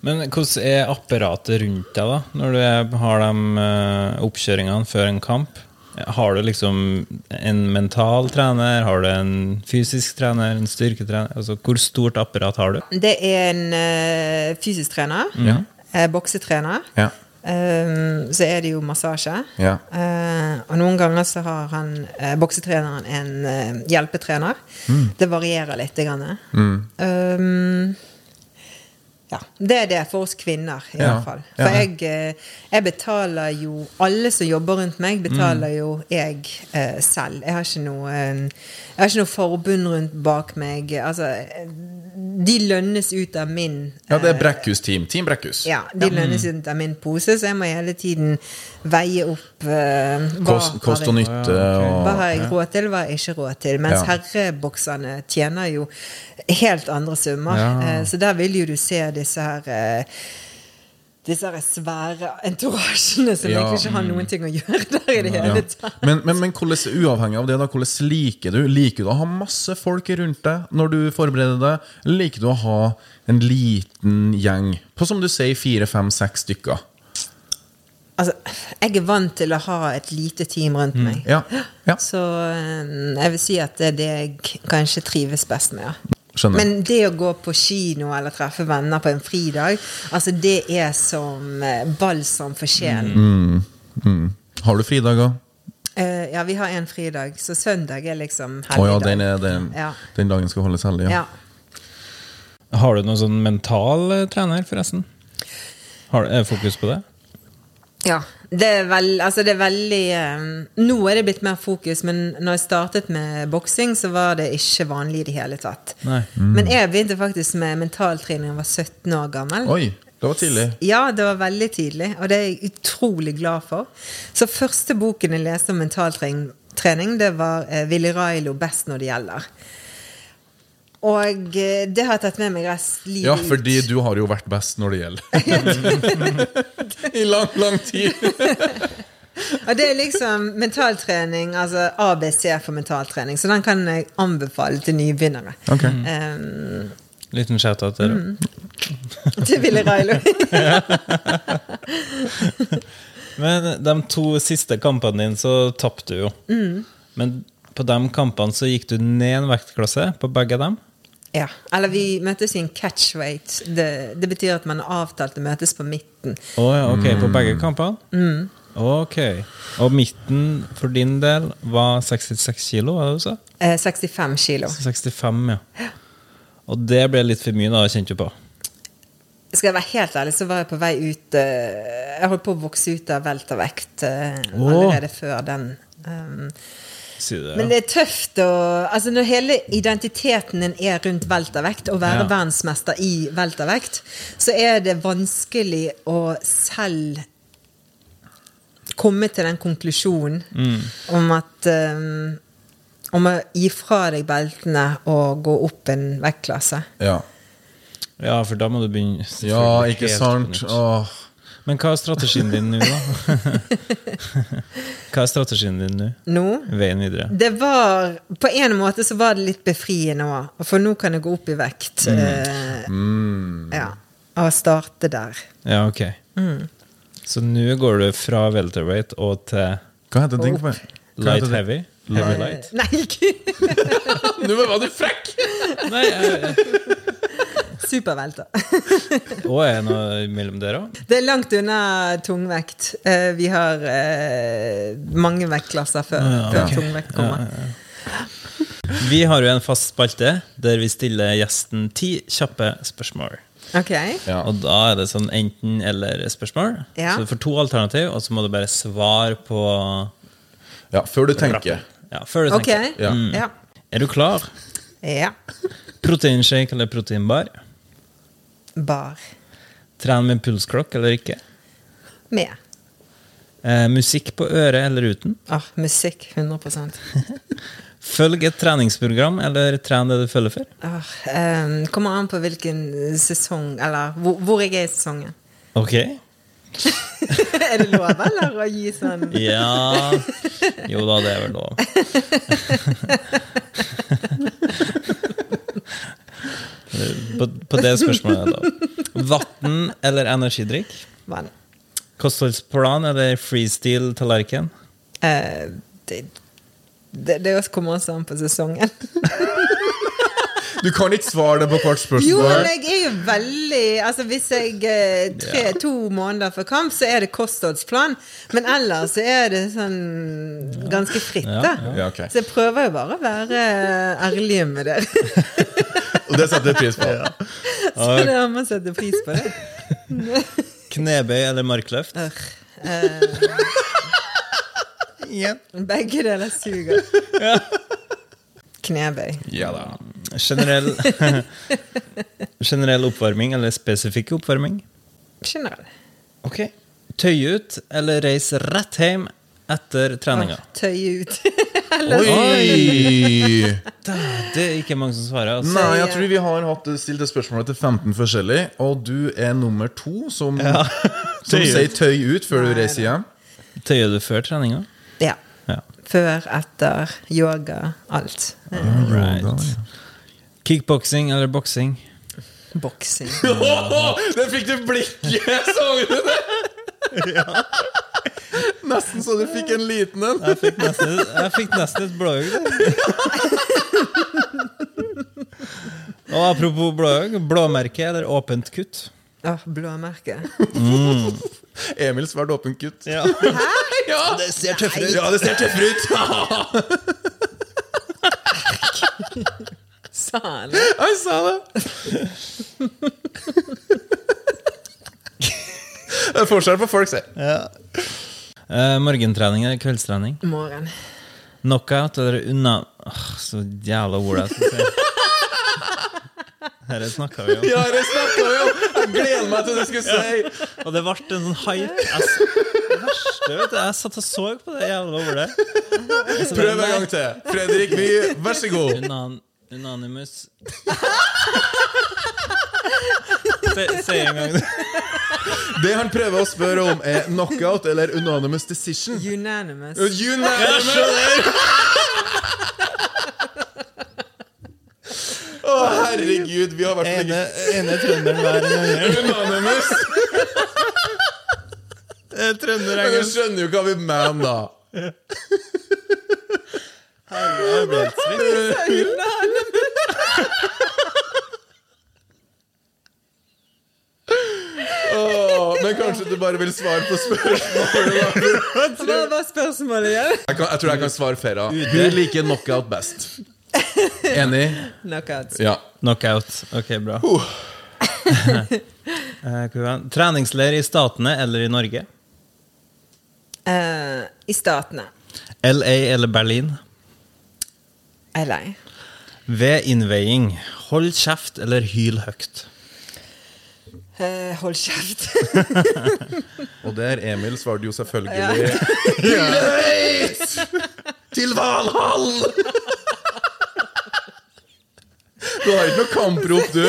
[SPEAKER 5] Men hvordan er apparatet rundt deg, da? Når du er- har de eh, oppkjøringene før en kamp? Har du liksom en mental trener? Har du en fysisk trener? En styrketrener? Altså, hvor stort apparat har du?
[SPEAKER 2] Det er en eh, fysisk trener,
[SPEAKER 4] Ja.
[SPEAKER 2] eh, boksetrener.
[SPEAKER 4] Ja.
[SPEAKER 2] Ehm, så er det jo massasje.
[SPEAKER 4] Ja.
[SPEAKER 2] Eh, og noen ganger så har han, eh, boksetreneren en eh, hjelpetrener.
[SPEAKER 4] Mm.
[SPEAKER 2] Det varierer litt. Grann. Ehm, ja, det er det for oss kvinner, i
[SPEAKER 4] Ja.
[SPEAKER 2] hvert fall.
[SPEAKER 4] Ja.
[SPEAKER 2] For jeg, eh, jeg betaler jo Alle som jobber rundt meg, betaler
[SPEAKER 4] Mm.
[SPEAKER 2] jo jeg eh, selv. Jeg har, ikke noe, eh, jeg har ikke noe forbund rundt bak meg. Altså, eh, de lønnes ut av min eh,
[SPEAKER 4] Ja, det er Brekkhus-team. Team Brekkhus.
[SPEAKER 2] ja, de
[SPEAKER 4] Mm.
[SPEAKER 2] lønnes ut av min pose, så jeg må hele tiden veie opp eh, hva
[SPEAKER 4] Kost, kost og
[SPEAKER 2] har jeg-
[SPEAKER 4] nytte
[SPEAKER 2] Hva har
[SPEAKER 4] og
[SPEAKER 2] jeg råd til, hva har jeg ikke råd til? Mens
[SPEAKER 4] Ja.
[SPEAKER 2] herrebokserne tjener jo helt andre summer. Eh, Så der vil jo du se disse her eh, disse her svære entorasjene som
[SPEAKER 4] Ja, mm.
[SPEAKER 2] egentlig ikke har noen ting å gjøre der i det hele
[SPEAKER 4] ja.
[SPEAKER 2] tatt.
[SPEAKER 4] Men, men, men hvordan, uavhengig av det, da, hvordan liker du Liker du å ha masse folk rundt deg når du forbereder deg? Eller liker du å ha en liten gjeng på som du sier fire, fem, seks stykker?
[SPEAKER 2] Altså, jeg er vant til å ha et lite team rundt meg.
[SPEAKER 4] Mm. Ja, ja.
[SPEAKER 2] Så eh, jeg vil si at det er det jeg kanskje trives best med. Ja.
[SPEAKER 4] Skjønner.
[SPEAKER 2] Men det å gå på kino eller treffe venner på en fridag, altså det er som eh, balsam for sjelen.
[SPEAKER 4] Mm. Har du fridager?
[SPEAKER 2] Eh, ja, vi har en fridag, så søndag er liksom
[SPEAKER 4] Å ja,
[SPEAKER 2] helligdag.
[SPEAKER 4] den, er, den,
[SPEAKER 2] Ja.
[SPEAKER 4] den dagen skal holdes hellig. Ja.
[SPEAKER 2] ja.
[SPEAKER 5] Har du noen sånn mental eh, trener, forresten? Har du, er det fokus på det?
[SPEAKER 2] Ja. Det er, vel, altså det er veldig eh, Nå er det blitt mer fokus, men når jeg startet med boksing, så var det ikke vanlig i det hele tatt.
[SPEAKER 5] Nei.
[SPEAKER 4] Mm.
[SPEAKER 2] Men jeg begynte faktisk med mentaltrening da jeg var 17 år gammel.
[SPEAKER 4] Oi, det var tidlig.
[SPEAKER 2] Ja, det var veldig tidlig, og det er jeg utrolig glad for. Så første boken jeg leste om mentaltrening, det var eh, Willy Railo 'Best når det gjelder'. Og eh, det har jeg tatt med meg resten livet
[SPEAKER 4] Ja,
[SPEAKER 2] ut.
[SPEAKER 4] fordi du har jo vært best når det gjelder. I lang, lang tid.
[SPEAKER 2] Og det er liksom mentaltrening, altså ABC for mentaltrening, så den kan jeg anbefale til nybegynnere.
[SPEAKER 4] Ok.
[SPEAKER 2] Um,
[SPEAKER 5] Liten shout-out til deg.
[SPEAKER 2] til Willy Railo.
[SPEAKER 5] Men de to siste kampene dine så tapte du jo. Men på de kampene så gikk du ned en vektklasse på begge dem.
[SPEAKER 2] Ja, eller vi møtes i en catchweight. Det, det betyr at man har avtalt å møtes på midten.
[SPEAKER 5] Å ja, ok,
[SPEAKER 4] Mm.
[SPEAKER 5] på begge kampene? Ok. Og midten for din del var 66 kilo, var det du sa?
[SPEAKER 2] Eh, 65 kilo.
[SPEAKER 5] Så 65, ja. Og det ble litt for mye, da, kjente du på.
[SPEAKER 2] Skal jeg være helt ærlig, så var jeg på vei ut eh, Jeg holdt på å vokse ut av veltervekt eh,
[SPEAKER 5] Åh.
[SPEAKER 2] allerede før den. Um,
[SPEAKER 5] Si det,
[SPEAKER 2] men
[SPEAKER 5] ja.
[SPEAKER 2] det er tøft å Altså, når hele identiteten din er rundt veltervekt, å være
[SPEAKER 5] Ja.
[SPEAKER 2] verdensmester i veltervekt, så er det vanskelig å selv komme til den konklusjonen
[SPEAKER 5] Mm.
[SPEAKER 2] om at um, Om å gi fra deg beltene og gå opp en vektklasse.
[SPEAKER 4] Ja,
[SPEAKER 5] ja, for da må du begynne
[SPEAKER 4] ja
[SPEAKER 5] selvfølgelig
[SPEAKER 4] ikke
[SPEAKER 5] helt på
[SPEAKER 4] sant?
[SPEAKER 5] nytt.
[SPEAKER 4] Åh.
[SPEAKER 5] Men hva er strategien din nå, da? hva er strategien din nå?
[SPEAKER 2] Nå
[SPEAKER 5] Veien videre?
[SPEAKER 2] det var, På en måte så var det litt befriende òg, for nå kan jeg gå opp i vekt.
[SPEAKER 5] Mm.
[SPEAKER 2] eh, Ja, og starte der.
[SPEAKER 5] Ja, ok. Så nå går du fra welterweight og til
[SPEAKER 4] Hva heter den? Hva heter
[SPEAKER 5] light
[SPEAKER 4] den?
[SPEAKER 5] heavy? Heavy light?
[SPEAKER 2] Eh, Nei, ikke
[SPEAKER 4] Nå var du frekk!
[SPEAKER 5] Nei, jeg,
[SPEAKER 2] supervelter.
[SPEAKER 5] og er jeg noe mellom der òg?
[SPEAKER 2] Det er langt unna tungvekt. Eh, vi har eh, mange vektklasser før, før tungvekt kommer.
[SPEAKER 5] Vi har jo en fast spalte der vi stiller gjesten ti kjappe spørsmål.
[SPEAKER 2] Ok.
[SPEAKER 4] Ja.
[SPEAKER 5] Og da er det sånn enten-eller-spørsmål.
[SPEAKER 2] Ja.
[SPEAKER 5] Så du får to alternativ, og så må du bare svare på
[SPEAKER 4] Ja, før du tenker.
[SPEAKER 5] Ja, før du
[SPEAKER 2] Ok.
[SPEAKER 5] tenker. Mm.
[SPEAKER 4] Ja.
[SPEAKER 2] Ja.
[SPEAKER 5] Er du klar?
[SPEAKER 2] ja.
[SPEAKER 5] Proteinshake eller proteinbar?
[SPEAKER 2] Bar.
[SPEAKER 5] Tren med pulsklokk eller ikke?
[SPEAKER 2] Med.
[SPEAKER 5] Eh, musikk på øret eller uten?
[SPEAKER 2] Ah, musikk. 100
[SPEAKER 5] Følg et treningsprogram eller tren det du følger for?
[SPEAKER 2] ah, eh, Kommer an på hvilken sesong Eller hvor, hvor jeg er i sesongen.
[SPEAKER 5] Ok.
[SPEAKER 2] er det lov, eller? Å gi sånn
[SPEAKER 5] Ja Jo da, det er vel lov. på, på det spørsmålet, da. Vann eller energidrikk?
[SPEAKER 2] vann?
[SPEAKER 5] Kostholdsplan eller freestyle-tallerken?
[SPEAKER 2] Eh, det, det, det også kommer også an på sesongen.
[SPEAKER 4] Du kan ikke svare det på hvert
[SPEAKER 2] Jo, men
[SPEAKER 4] spørsmål.
[SPEAKER 2] jeg er jo veldig Altså Hvis jeg eh, tre, to måneder før kamp, så er det kostholdsplan. Men ellers så er det sånn ganske fritt, da.
[SPEAKER 4] Ja, ok.
[SPEAKER 2] Så jeg prøver jo bare å være eh, ærlig med dere.
[SPEAKER 4] Og det setter jeg pris på.
[SPEAKER 2] Så det har man setter pris på det.
[SPEAKER 5] Knebøy eller markløft?
[SPEAKER 2] Begge deler suger. Knebøy.
[SPEAKER 4] Ja da.
[SPEAKER 5] Generell, generell oppvarming eller spesifikk oppvarming?
[SPEAKER 2] Generell.
[SPEAKER 5] Ok. Tøye ut eller reise rett hjem etter treninga?
[SPEAKER 2] Tøye ut.
[SPEAKER 4] Oi!
[SPEAKER 5] Det er ikke mange som svarer. Altså.
[SPEAKER 4] Nei, jeg tror vi har hatt stilt det spørsmålet til 15 forskjellig, og du er nummer to som, som
[SPEAKER 5] Tøy ut.
[SPEAKER 4] sier tøy ut før du reiser hjem.
[SPEAKER 5] Tøyer du før treninga?
[SPEAKER 2] Ja.
[SPEAKER 5] Ja.
[SPEAKER 2] Før, etter, yoga, alt.
[SPEAKER 5] Right. Kickboksing eller boksing?
[SPEAKER 2] Boksing.
[SPEAKER 4] Der fikk du blikket! Så du det? Nesten så du fikk en liten en.
[SPEAKER 5] Jeg fikk nesten, jeg fikk nesten et blåøye. Og apropos blåøye, blåmerke eller åpent kutt?
[SPEAKER 2] Åh, blåmerke.
[SPEAKER 4] Emil svært åpen gutt.
[SPEAKER 5] Ja.
[SPEAKER 4] Ja, det ser tøffere ut! Ja, det ser tøffere ut.
[SPEAKER 2] Sa han.
[SPEAKER 4] Jeg sa det! Det er forskjell på folk, sier
[SPEAKER 5] Eh, morgentrening eller kveldstrening?
[SPEAKER 2] Morgen.
[SPEAKER 5] Knockout eller unna Åh, Så jævla ord jeg skal si. Dette snakka vi om.
[SPEAKER 4] Ja, det snakka vi om! Jeg gleder meg til du skulle si!
[SPEAKER 5] Og det ble en sånn hype. Jeg, s- det verste, vet du. jeg satt og så på det jævla ordet. Og så bare,
[SPEAKER 4] Prøv en gang til. Fredrik Mye, vær så god.
[SPEAKER 5] Unan, unanimous Se- Si en gang.
[SPEAKER 4] Det han prøver å spørre om, er knockout eller unanimous decision.
[SPEAKER 2] Unanimous.
[SPEAKER 4] Unanimous! Å, herregud, vi har vært på
[SPEAKER 5] Ene, ene trønderen hver gang.
[SPEAKER 4] Unanimous!
[SPEAKER 5] eh, Trønder
[SPEAKER 4] Men du skjønner jo hva vi mener, da. Å, men kanskje du bare vil svare på spørsmålet? da.
[SPEAKER 2] Hva var spørsmålet igjen?
[SPEAKER 4] Jeg, kan, jeg tror jeg kan svare Ferra. Hun liker knockout best. Enig?
[SPEAKER 2] Knockouts.
[SPEAKER 4] Ja.
[SPEAKER 5] Knockout. Ok, bra. Eh, hvor var den? Treningsleir i Statene eller i Norge?
[SPEAKER 2] Eh, I statene.
[SPEAKER 5] LA eller Berlin?
[SPEAKER 2] Jeg er lei.
[SPEAKER 5] Ved innveiing, hold kjeft eller hyl høyt?
[SPEAKER 2] Eh, hold kjeft.
[SPEAKER 4] Og der, Emil, svarte jo selvfølgelig Greit! Til Valhall! Du har ikke noe kamprop, du.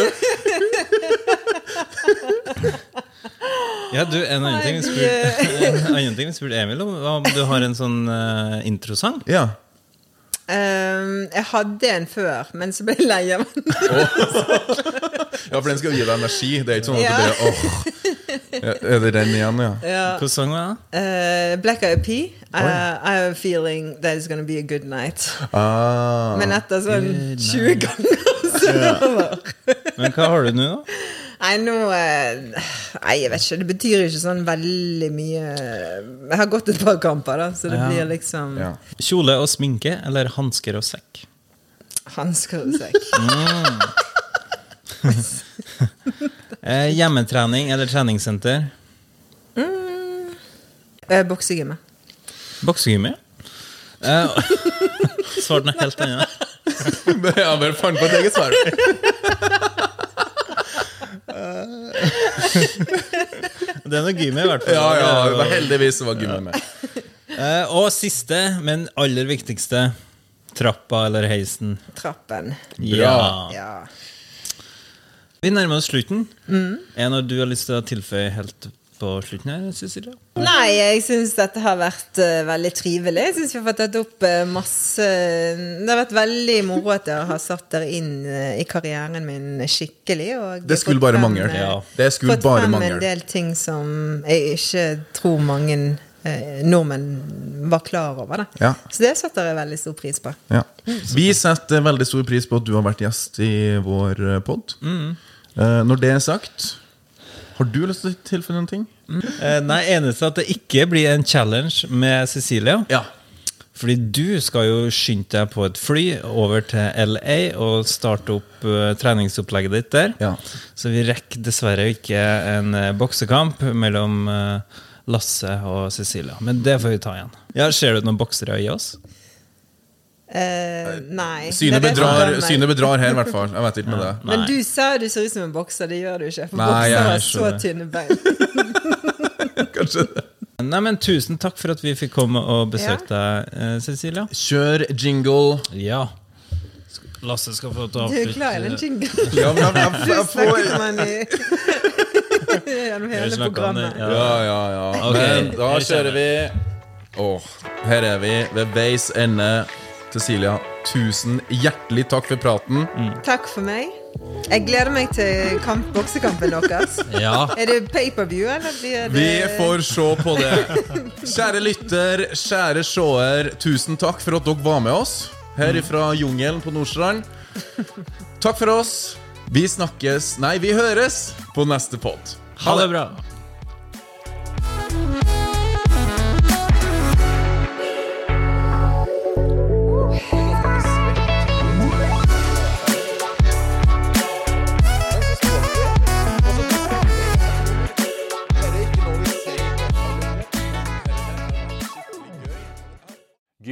[SPEAKER 5] Ja, du, en annen ting vi spurte, en annen ting vi spurte Emil om, var om du har en sånn eh, introsang.
[SPEAKER 4] Ja.
[SPEAKER 2] Ehm, jeg hadde en før, men så ble jeg lei av den.
[SPEAKER 4] ja, for den skal jo gi deg energi. Det er ikke sånn at
[SPEAKER 2] Ja.
[SPEAKER 4] du bare åh. Ja, Er det den igjen, ja?
[SPEAKER 5] Hvilken sang var det?
[SPEAKER 2] Eh, Black Eyed Pea. I, I have a feeling that it's gonna be a good night.
[SPEAKER 4] Ah.
[SPEAKER 2] Men etter sånn 20 ganger, så er det over.
[SPEAKER 5] Men hva har du nå, da?
[SPEAKER 2] Nei, nå eh, Nei, jeg vet ikke. Det betyr ikke sånn veldig mye Jeg har gått et par kamper, da, så det
[SPEAKER 5] Ja.
[SPEAKER 2] blir liksom
[SPEAKER 4] Ja.
[SPEAKER 5] Kjole og sminke eller hansker og sekk?
[SPEAKER 2] hansker og sekk.
[SPEAKER 5] Eh, hjemmetrening eller treningssenter?
[SPEAKER 2] Eh, Boksegymmet.
[SPEAKER 5] Boksegymmet. Eh, Svarte noe helt annet.
[SPEAKER 4] ja, bare fant på et eget svar.
[SPEAKER 5] Det er noe gym i hvert fall.
[SPEAKER 4] Ja, ja, det var heldigvis det var gummi med.
[SPEAKER 5] Eh, og siste, men aller viktigste. Trappa eller heisen.
[SPEAKER 2] Trappen.
[SPEAKER 5] Ja.
[SPEAKER 2] Ja.
[SPEAKER 5] Vi nærmer oss slutten. Er det noe du har lyst til å tilføye helt på slutten her, Cecilia?
[SPEAKER 2] Nei, jeg syns dette har vært eh, veldig trivelig. Jeg syns vi har fått tatt opp eh, masse Det har vært veldig moro at dere har satt dere inn eh, i karrieren min skikkelig. Og
[SPEAKER 4] Det skulle bare mangle.
[SPEAKER 2] eh,
[SPEAKER 5] Ja.
[SPEAKER 4] Det skulle
[SPEAKER 2] fått
[SPEAKER 4] bare
[SPEAKER 2] frem
[SPEAKER 4] mangle.
[SPEAKER 2] en del ting som jeg ikke tror mange eh, nordmenn var klar over. Da.
[SPEAKER 4] Ja.
[SPEAKER 2] Så det setter jeg veldig stor pris på.
[SPEAKER 4] Ja. Vi setter veldig stor pris på at du har vært gjest i vår pod. Når det er sagt, har du lyst til å tilføye noen ting? Mm.
[SPEAKER 5] Eh, nei, eneste at det ikke blir en challenge med Cecilia.
[SPEAKER 4] Ja.
[SPEAKER 5] Fordi du skal jo skynde deg på et fly over til LA og starte opp eh, treningsopplegget ditt der.
[SPEAKER 4] Ja.
[SPEAKER 5] Så vi rekker dessverre ikke en eh, boksekamp mellom eh, Lasse og Cecilia. Men det får vi ta igjen. Ja, Ser du noen boksere i oss?
[SPEAKER 2] Eh, nei.
[SPEAKER 4] Synet
[SPEAKER 2] det er det som
[SPEAKER 4] bedrar,
[SPEAKER 2] skremmer meg.
[SPEAKER 4] synet bedrar her, i hvert fall. Jeg vet ikke med det.
[SPEAKER 2] Men
[SPEAKER 5] Nei.
[SPEAKER 2] du sa du ser ut som en bokser. Det gjør du ikke. For
[SPEAKER 4] Nei, jeg
[SPEAKER 2] bokser har
[SPEAKER 5] er
[SPEAKER 2] så
[SPEAKER 5] ikke
[SPEAKER 2] tynne bein.
[SPEAKER 4] Kanskje det.
[SPEAKER 5] Nei, men Tusen takk for at vi fikk komme og besøke deg, eh, Cecilia.
[SPEAKER 4] Kjør jingle.
[SPEAKER 5] Ja. Lasse skal få til å
[SPEAKER 2] Du er glad i
[SPEAKER 5] eh,
[SPEAKER 2] den jinglen.
[SPEAKER 4] Ja, men jeg, jeg, jeg
[SPEAKER 2] Du
[SPEAKER 4] får
[SPEAKER 2] snakket om han i Gjennom hele
[SPEAKER 5] snakker om
[SPEAKER 2] programmet.
[SPEAKER 5] det,
[SPEAKER 2] Ja.
[SPEAKER 5] ja.
[SPEAKER 4] Ja, ja, ja.
[SPEAKER 5] Ok,
[SPEAKER 4] Men da
[SPEAKER 5] her
[SPEAKER 4] kjører
[SPEAKER 5] kommer
[SPEAKER 4] vi Åh, her er vi ved veis ende. Cecilia, tusen hjertelig takk for praten.
[SPEAKER 5] Mm.
[SPEAKER 2] Takk for meg. Jeg gleder meg til kamp, boksekampen deres.
[SPEAKER 5] Ja.
[SPEAKER 2] Er det pay-per-view, eller blir det
[SPEAKER 4] Vi får se på det. Kjære lytter, kjære seer, tusen takk for at dere var med oss her
[SPEAKER 5] Mm.
[SPEAKER 4] fra jungelen på Nordstrand. Takk for oss. Vi snakkes, nei, vi høres på neste pod.
[SPEAKER 5] Ha det bra.